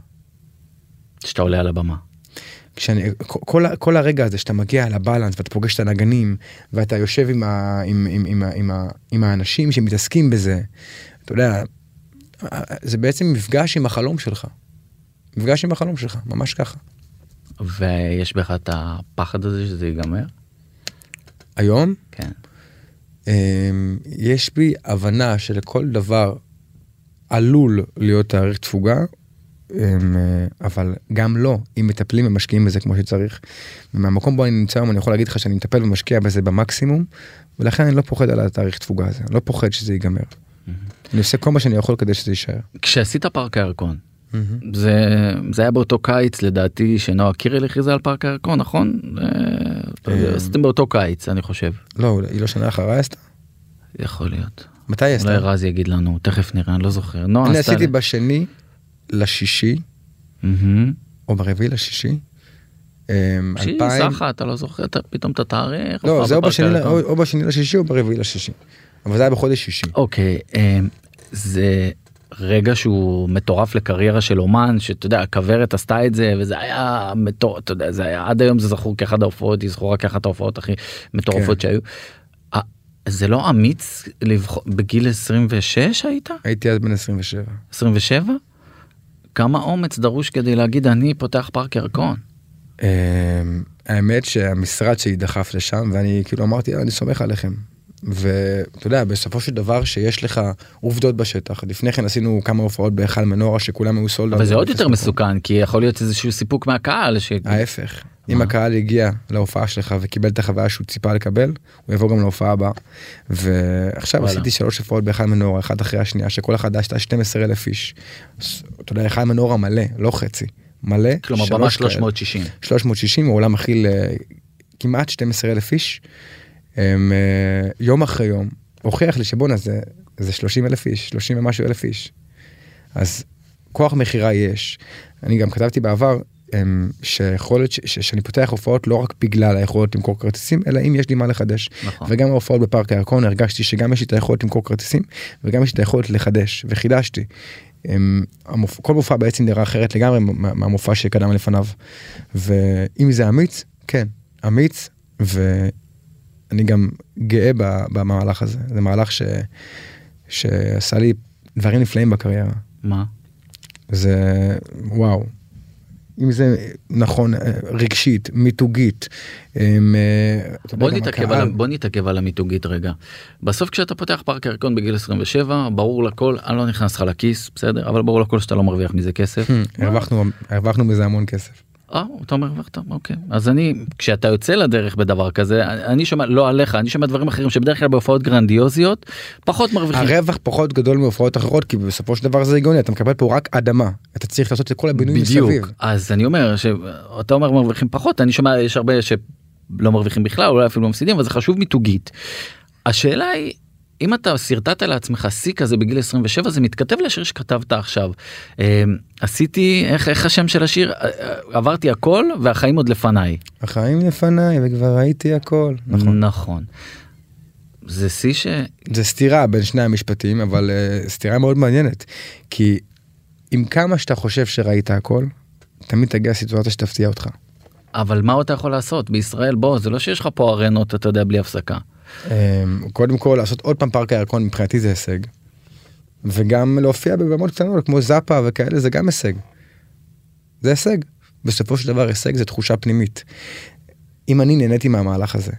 Speaker 2: כשאתה עולה על הבמה.
Speaker 3: כשאני, כל- כל, ה- כל הרגע הזה שאתה מגיע לבלנס ואתה פוגש את הנגנים ואתה יושב עם, ה, עם, עם, עם, ה- עם, ה, עם האנשים שמתעסקים בזה, אתה יודע, אה, זה בעצם מפגש עם החלום שלך. מפגש עם החלום שלך, ממש ככה.
Speaker 2: ויש בך את הפחד הזה שזה ייגמר?
Speaker 3: היום
Speaker 2: כן.
Speaker 3: אמ, יש בי הבנה שלכל דבר עלול להיות תאריך תפוגה, אמ, אה, אבל גם לא, אם מטפלים ומשקיעים בזה כמו שצריך. מהמקום בו אני נמצא היום אני יכול להגיד לך שאני מטפל ומשקיע בזה במקסימום, ולכן אני לא פוחד על התאריך תפוגה הזה, אני לא פוחד שזה ייגמר. אני עושה כל מה שאני יכול כדי שזה יישאר.
Speaker 2: כשעשית פארק הירקון, זה, זה היה באותו קיץ לדעתי שנועה קירל הכריזה על פארק הירקון, נכון? אה,
Speaker 3: אה.
Speaker 2: עשיתם באותו קיץ, אני חושב.
Speaker 3: לא, היא לא שנה אחריי עשתה?
Speaker 2: יכול להיות.
Speaker 3: מתי היא
Speaker 2: אולי
Speaker 3: עשתה?
Speaker 2: רז יגיד לנו, תכף נראה, אני לא זוכר. נועה
Speaker 3: אני
Speaker 2: עשתה...
Speaker 3: עשיתי
Speaker 2: לי-
Speaker 3: בשני לשישי,
Speaker 2: מהמם.
Speaker 3: או ברביעי לשישי. אמ,
Speaker 2: שהיא
Speaker 3: 2000
Speaker 2: סחה, אתה לא זוכר אתה- פתאום את התאריך.
Speaker 3: לא,
Speaker 2: הופעה
Speaker 3: זה או
Speaker 2: בפארק
Speaker 3: בשני, ל-
Speaker 2: הירקון.
Speaker 3: או, או בשני לשישי או ברביעי לשישי. אבל זה היה בחודש שישי.
Speaker 2: אוקיי, אה, זה רגע שהוא מטורף לקריירה של אומן, שאתה יודע, הכוורת עשתה את זה, וזה היה מטורף, אתה יודע, זה היה, עד היום זה זכור כאחד ההופעות, היא זכורה כאחת ההופעות הכי מטורפות
Speaker 3: כן.
Speaker 2: שהיו. אה, זה לא אמיץ לבחור, בגיל 26 היית?
Speaker 3: הייתי אז בן 27.
Speaker 2: 27? כמה אומץ דרוש כדי להגיד אני פותח פארק ירקון?
Speaker 3: אמ, האמת שהמשרד שלי דחף לשם, ואני כאילו אמרתי, "אה, אני סומך עליכם. ואתה יודע, בסופו של דבר שיש לך עובדות בשטח. לפני כן עשינו כמה הופעות בהיכל מנורה שכולם היו סולד.
Speaker 2: אבל זה עוד יותר מסוכן, כי יכול להיות איזשהו סיפוק מהקהל, ש...
Speaker 3: ההפך, אם
Speaker 2: מה?
Speaker 3: הקהל הגיע להופעה שלך וקיבל את החוויה שהוא ציפה לקבל, הוא יבוא גם להופעה הבאה. ועכשיו
Speaker 2: וואלה.
Speaker 3: עשיתי שלוש הופעות בהיכל מנורה, אחת אחרי השנייה, שכל אחת הייתה 12 אלף איש. אז, אתה יודע, היכל מנורה מלא, לא חצי, מלא.
Speaker 2: כלומר,
Speaker 3: שלוש
Speaker 2: ממש לא
Speaker 3: כאלה.
Speaker 2: 360.
Speaker 3: 360, העולם מכיל אה, כמעט 12 אלף איש. הם, אה, יום אחרי יום, הוכיח לי שבואנה זה, זה 30 אלף איש, 30 ומשהו אלף איש. אז כוח מכירה יש. אני גם כתבתי בעבר הם, שיכולת ש, ש, שאני פותח הופעות לא רק בגלל היכולת למכור כרטיסים, אלא אם יש לי מה לחדש.
Speaker 2: נכון.
Speaker 3: וגם ההופעות בפארק הירקון הרגשתי שגם יש לי את היכולת למכור כרטיסים וגם יש לי את היכולת לחדש וחידשתי. אמ, המופ... כל מופע בעצם נראה אחרת לגמרי מה- מהמופע שקדם לפניו. ואם זה אמיץ, כן, אמיץ ואני גם גאה ב- במהלך הזה. זה מהלך ש... שעשה לי דברים נפלאים בקריירה.
Speaker 2: מה?
Speaker 3: זה וואו. אם זה נכון אה, רגשית מיתוגית. אמ, אה, אתה יודע,
Speaker 2: בוא
Speaker 3: גם
Speaker 2: נתעכב,
Speaker 3: הקהל-
Speaker 2: על, בוא נתעכב על המיתוגית רגע. בסוף כשאתה פותח פארק ירקון בגיל 27, ברור לכל, אני לא נכנס לך לכיס, בסדר? אבל ברור לכל שאתה לא מרוויח מזה כסף.
Speaker 3: אה, הרווחנו, הרווחנו מזה המון כסף.
Speaker 2: אה, אתה אומר הרווחת, אוקיי. אז אני, כשאתה יוצא לדרך בדבר כזה, אני- אני שומע, לא עליך, אני שומע דברים אחרים שבדרך כלל בהופעות גרנדיוזיות, פחות מרוויחים.
Speaker 3: הרווח פחות גדול מהופעות אחרות כי בסופו של דבר זה הגיוני אתה מקבל פה רק אדמה אתה צריך לעשות את כל הבינוי
Speaker 2: בדיוק.
Speaker 3: מסביב.
Speaker 2: אז אני אומר, שאתה אומר מרוויחים פחות, אני שומע יש הרבה שלא מרוויחים בכלל, אולי אפילו מפסידים, אבל זה חשוב מיתוגית. השאלה היא, אם אתה שרטטת לעצמך שיא כזה בגיל 27, זה מתכתב לשיר שכתבת עכשיו. אה, עשיתי, איך, איך השם של השיר? אה, אה, עברתי הכל והחיים עוד לפניי.
Speaker 3: החיים לפניי וכבר ראיתי הכל. נכון.
Speaker 2: נכון. זה שיא ש...
Speaker 3: זה סתירה בין שני המשפטים אבל אה, סתירה מאוד מעניינת כי עם כמה שאתה חושב שראית הכל תמיד תגיע סיטואציה שתפתיע אותך.
Speaker 2: אבל מה עוד אתה יכול לעשות? בישראל, בוא, זה לא שיש לך פה ארנות, אתה יודע, בלי הפסקה.
Speaker 3: אמ, קודם כל לעשות עוד פעם פארק הירקון מבחינתי זה הישג. וגם להופיע בבמות קטנות כמו זאפה וכאלה זה גם הישג. זה הישג. בסופו של דבר הישג זה תחושה פנימית. אם אני נהניתי מהמהלך הזה.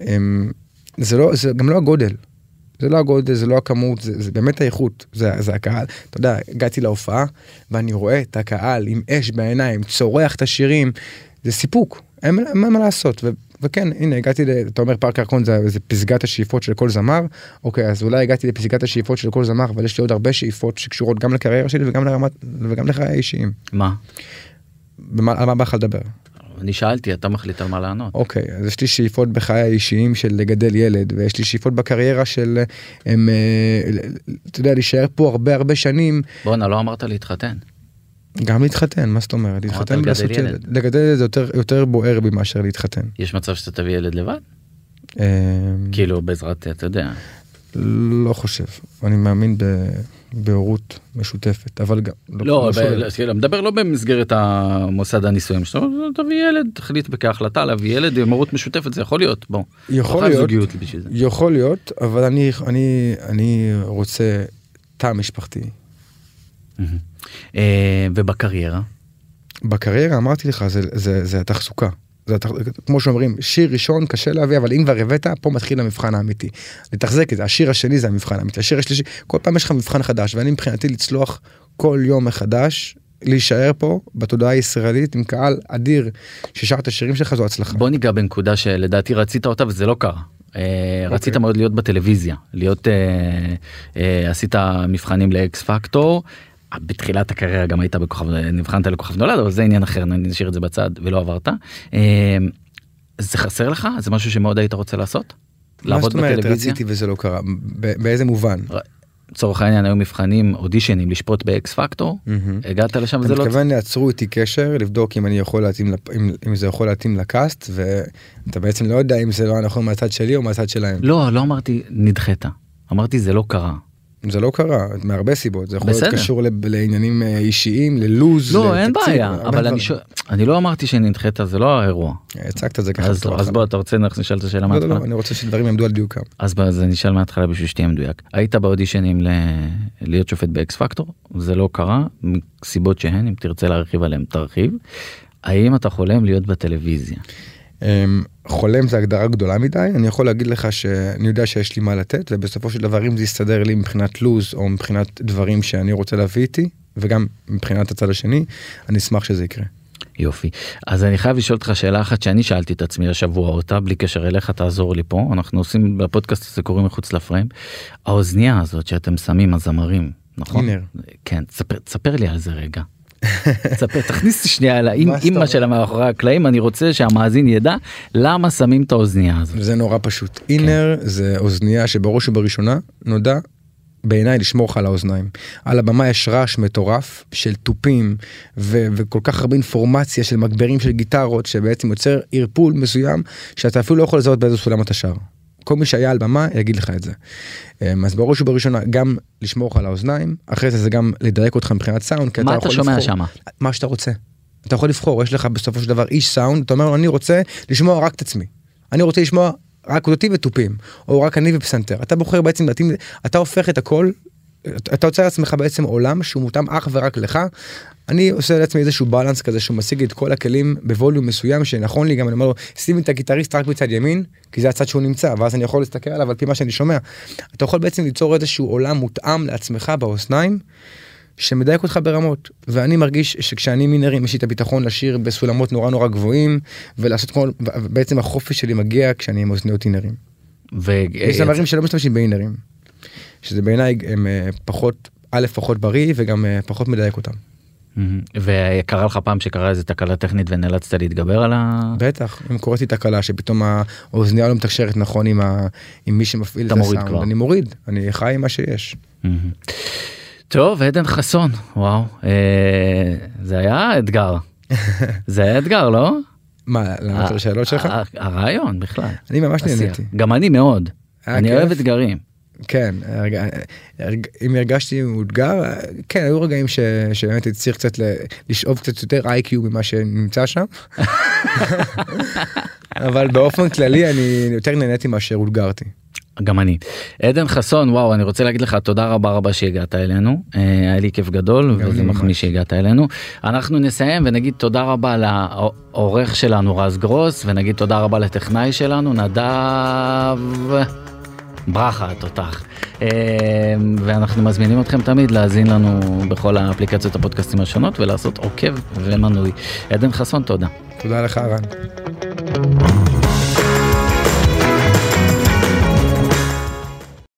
Speaker 3: אמ, זה לא זה גם לא הגודל. זה לא הגודל זה לא הכמות זה, זה באמת האיכות זה, זה הקהל אתה יודע הגעתי להופעה ואני רואה את הקהל עם אש בעיניים צורח את השירים זה סיפוק אין מה- אין מה לעשות וכן, הנה, הגעתי, ל... אתה אומר פארק הירקון זה זה פסגת השאיפות של כל זמר, אוקיי, אז אולי הגעתי לפסגת השאיפות של כל זמר, אבל יש לי עוד הרבה שאיפות שקשורות גם לקריירה שלי וגם לרמת, וגם לחיי האישיים.
Speaker 2: מה?
Speaker 3: ומה- על מה בא לך לדבר?
Speaker 2: אני שאלתי, אתה מחליט על מה לענות.
Speaker 3: אוקיי, אז יש לי שאיפות בחיי האישיים של לגדל ילד, ויש לי שאיפות בקריירה של, אה, הם, אה, ל- ל- אתה יודע, להישאר פה הרבה הרבה שנים,
Speaker 2: בואנה, לא אמרת להתחתן.
Speaker 3: גם להתחתן, מה זאת אומרת? להתחתן
Speaker 2: לגדל
Speaker 3: ולעשות
Speaker 2: ילד.
Speaker 3: ילד. לגדל ילד זה יותר- יותר בוער בי מאשר להתחתן.
Speaker 2: יש מצב שאתה תביא ילד לבד?
Speaker 3: אה,
Speaker 2: כאילו, בעזרת, אתה יודע.
Speaker 3: לא חושב, אני מאמין ב- בהורות משותפת, אבל גם...
Speaker 2: לא,
Speaker 3: שולל.
Speaker 2: אבל- כאילו, מדבר לא במסגרת המוסד הנישואים שלו, תביא ילד, תחליט כהחלטה להביא ילד עם הורות משותפת, זה יכול להיות, בוא.
Speaker 3: יכול
Speaker 2: לא חייב
Speaker 3: להיות.
Speaker 2: זוגיות בשביל זה.
Speaker 3: יכול להיות, אבל אני, אני, אני רוצה תא משפחתי.
Speaker 2: אה, ובקריירה?
Speaker 3: בקריירה אמרתי לך, זה, זה, זה התחזוקה. זה התח... כמו שאומרים, שיר ראשון קשה להביא, אבל אם כבר הבאת, פה מתחיל המבחן האמיתי. לתחזק את זה, השיר השני זה המבחן האמיתי, השיר השלישי, כל פעם יש לך מבחן חדש, ואני מבחינתי לצלוח כל יום מחדש, להישאר פה בתודעה הישראלית עם קהל אדיר ששר את השירים שלך, זו הצלחה.
Speaker 2: בוא ניגע בנקודה שלדעתי רצית אותה וזה לא קרה.
Speaker 3: אוקיי.
Speaker 2: אה, רצית מאוד להיות בטלוויזיה, להיות, אה, אה, עשית מבחנים לאקס פקטור, בתחילת הקריירה גם היית בכוכב, נבחנת לכוכב נולד, אבל זה עניין אחר, נ- נשאיר את זה בצד ולא עברת. אה, זה חסר לך? זה משהו שמאוד היית רוצה לעשות? לעבוד
Speaker 3: מה זאת אומרת
Speaker 2: בטלוויזיה?
Speaker 3: רציתי וזה לא קרה? ב- באיזה מובן?
Speaker 2: לצורך העניין היו מבחנים, אודישנים, לשפוט באקס פקטור, הגעת לשם
Speaker 3: Mm-hmm. אתה
Speaker 2: וזה לא...
Speaker 3: מתכוון יעצרו איתי קשר, לבדוק אם אני יכול להתאים, לפ- אם- אם זה יכול להתאים לקאסט, ואתה בעצם לא יודע אם זה לא הנכון מהצד שלי או מהצד שלהם.
Speaker 2: לא, לא אמרתי נדחית, אמרתי זה לא קרה.
Speaker 3: זה לא קרה, מהרבה סיבות, זה יכול להיות
Speaker 2: בסדר. בסדר.
Speaker 3: קשור לב- לעניינים אה, אישיים, ללוז,
Speaker 2: לא, אין
Speaker 3: לתקציב,
Speaker 2: בעיה, אבל
Speaker 3: הרבה
Speaker 2: אני
Speaker 3: דברים. אה,
Speaker 2: שואל, אני לא אמרתי שנדחית, זה לא האירוע.
Speaker 3: הצגת את כן, זה ככה.
Speaker 2: אז
Speaker 3: בצורה
Speaker 2: אז
Speaker 3: חדה.
Speaker 2: בוא, אתה רוצה אנחנו נשאל את השאלה
Speaker 3: לא, לא,
Speaker 2: מההתחלה?
Speaker 3: לא, אני רוצה שדברים יעמדו על דיוקם.
Speaker 2: אז בוא, אז אני אשאל מההתחלה בשביל שתהיה מדויק. היית באודישנים ל- להיות שופט באקס פקטור, זה לא קרה, מסיבות שהן, אם תרצה להרחיב עליהן, תרחיב. האם אתה חולם להיות בטלוויזיה?
Speaker 3: אמ, חולם זה הגדרה גדולה מדי, אני יכול להגיד לך שאני יודע שיש לי מה לתת, ובסופו של דבר אם זה יסתדר לי מבחינת לוז או מבחינת דברים שאני רוצה להביא איתי, וגם מבחינת הצד השני, אני אשמח שזה יקרה.
Speaker 2: יופי. אז אני חייב לשאול אותך שאלה אחת שאני שאלתי את עצמי השבוע אותה, בלי קשר אליך, תעזור לי פה. אנחנו עושים, בפודקאסט הזה קוראים מחוץ לפריים. האוזנייה הזאת שאתם שמים, הזמרים, נכון?
Speaker 3: אינר.
Speaker 2: כן, תספר, תספר לי על זה רגע. תספר, תכניס לי שנייה על האם-
Speaker 3: מה שאתה
Speaker 2: אימא
Speaker 3: אומר.
Speaker 2: שלה מאחורי הקלעים, אני רוצה שהמאזין ידע למה שמים את האוזנייה הזאת. כן.
Speaker 3: זה נורא פשוט. אינר זה אוזנייה שבראש ובראשונה נודע בעיניי לשמור לך על האוזניים. על הבמה יש רעש מטורף של תופים ו- וכל כך הרבה אינפורמציה של מגברים של גיטרות שבעצם יוצר ערפול מסוים שאתה אפילו לא יכול לזהות באיזה סולם אתה שר. כל מי שהיה על במה יגיד לך את זה. אמ, אז בראש ובראשונה גם לשמור לך על האוזניים, אחרי זה זה גם לדייק אותך מבחינת סאונד, כי אתה
Speaker 2: מה
Speaker 3: יכול
Speaker 2: אתה שומע
Speaker 3: לבחור-
Speaker 2: שם?
Speaker 3: מה שאתה רוצה. אתה יכול לבחור, יש לך בסופו של דבר איש סאונד, אתה אומר לו, אני רוצה לשמוע רק את עצמי. אני רוצה לשמוע רק אותי ותופים, או רק אני ופסנתר. אתה בוחר בעצם, להתאים- אתה הופך את הכל, אתה אתה יוצר לעצמך בעצם עולם שהוא מותאם אך ורק לך. אני עושה לעצמי איזשהו בלנס כזה שהוא משיג לי את כל הכלים בווליום מסוים שנכון לי גם אני אומר לו שים את הגיטריסט רק מצד ימין כי זה הצד שהוא נמצא ואז אני יכול להסתכל עליו על פי מה שאני שומע. אתה יכול בעצם ליצור איזשהו עולם מותאם לעצמך באוזניים שמדייק אותך ברמות ואני מרגיש שכשאני מינרים יש לי את הביטחון לשיר בסולמות נורא נורא גבוהים ולעשות כמו בעצם החופש שלי מגיע כשאני עם אוזניות אינרים.
Speaker 2: ו-
Speaker 3: יש דברים שלא משתמשים באינרים. שזה בעיניי הם אה, פחות א' פחות בריא וגם אה, פחות מדייק אותם.
Speaker 2: מהמם. וקרה לך פעם שקרה איזה תקלה טכנית ונאלצת להתגבר על ה...
Speaker 3: בטח אם קורית לי תקלה שפתאום האוזניה לא מתקשרת נכון עם, ה... עם מי שמפעיל את
Speaker 2: אתה מוריד כבר.
Speaker 3: הסאונד אני מוריד אני חי עם מה שיש.
Speaker 2: מהמם. טוב, עדן חסון, וואו, אה, זה היה אתגר. זה היה אתגר, לא?
Speaker 3: מה לענות על השאלות שלך?
Speaker 2: ה- הרעיון בכלל.
Speaker 3: אני ממש
Speaker 2: אה, עשייה.
Speaker 3: נהניתי.
Speaker 2: גם אני מאוד.
Speaker 3: היה
Speaker 2: אני
Speaker 3: אה, כיף?
Speaker 2: אוהב אתגרים.
Speaker 3: כן, הרג- הרג- אם הרגשתי מאותגר, כן, היו רגעים ש- שבאמת הייתי צריך קצת ל- לשאוב קצת יותר איי-קיו ממה שנמצא שם. אבל באופן כללי אני יותר נהניתי מאשר אותגרתי.
Speaker 2: גם אני. עדן חסון, וואו, אני רוצה להגיד לך תודה רבה רבה שהגעת אלינו. אה, היה לי כיף גדול,
Speaker 3: גם
Speaker 2: וזה
Speaker 3: לי
Speaker 2: מחמיא
Speaker 3: ממש.
Speaker 2: שהגעת אלינו. אנחנו נסיים ונגיד תודה רבה לעורך שלנו רז גרוס, ונגיד תודה רבה לטכנאי שלנו נדב... ברכה התותח. אה, ואנחנו מזמינים אתכם תמיד להאזין לנו בכל האפליקציות הפודקאסטים השונות ולעשות עוקב ומנוי. עדן חסון, תודה.
Speaker 3: תודה לך, רן.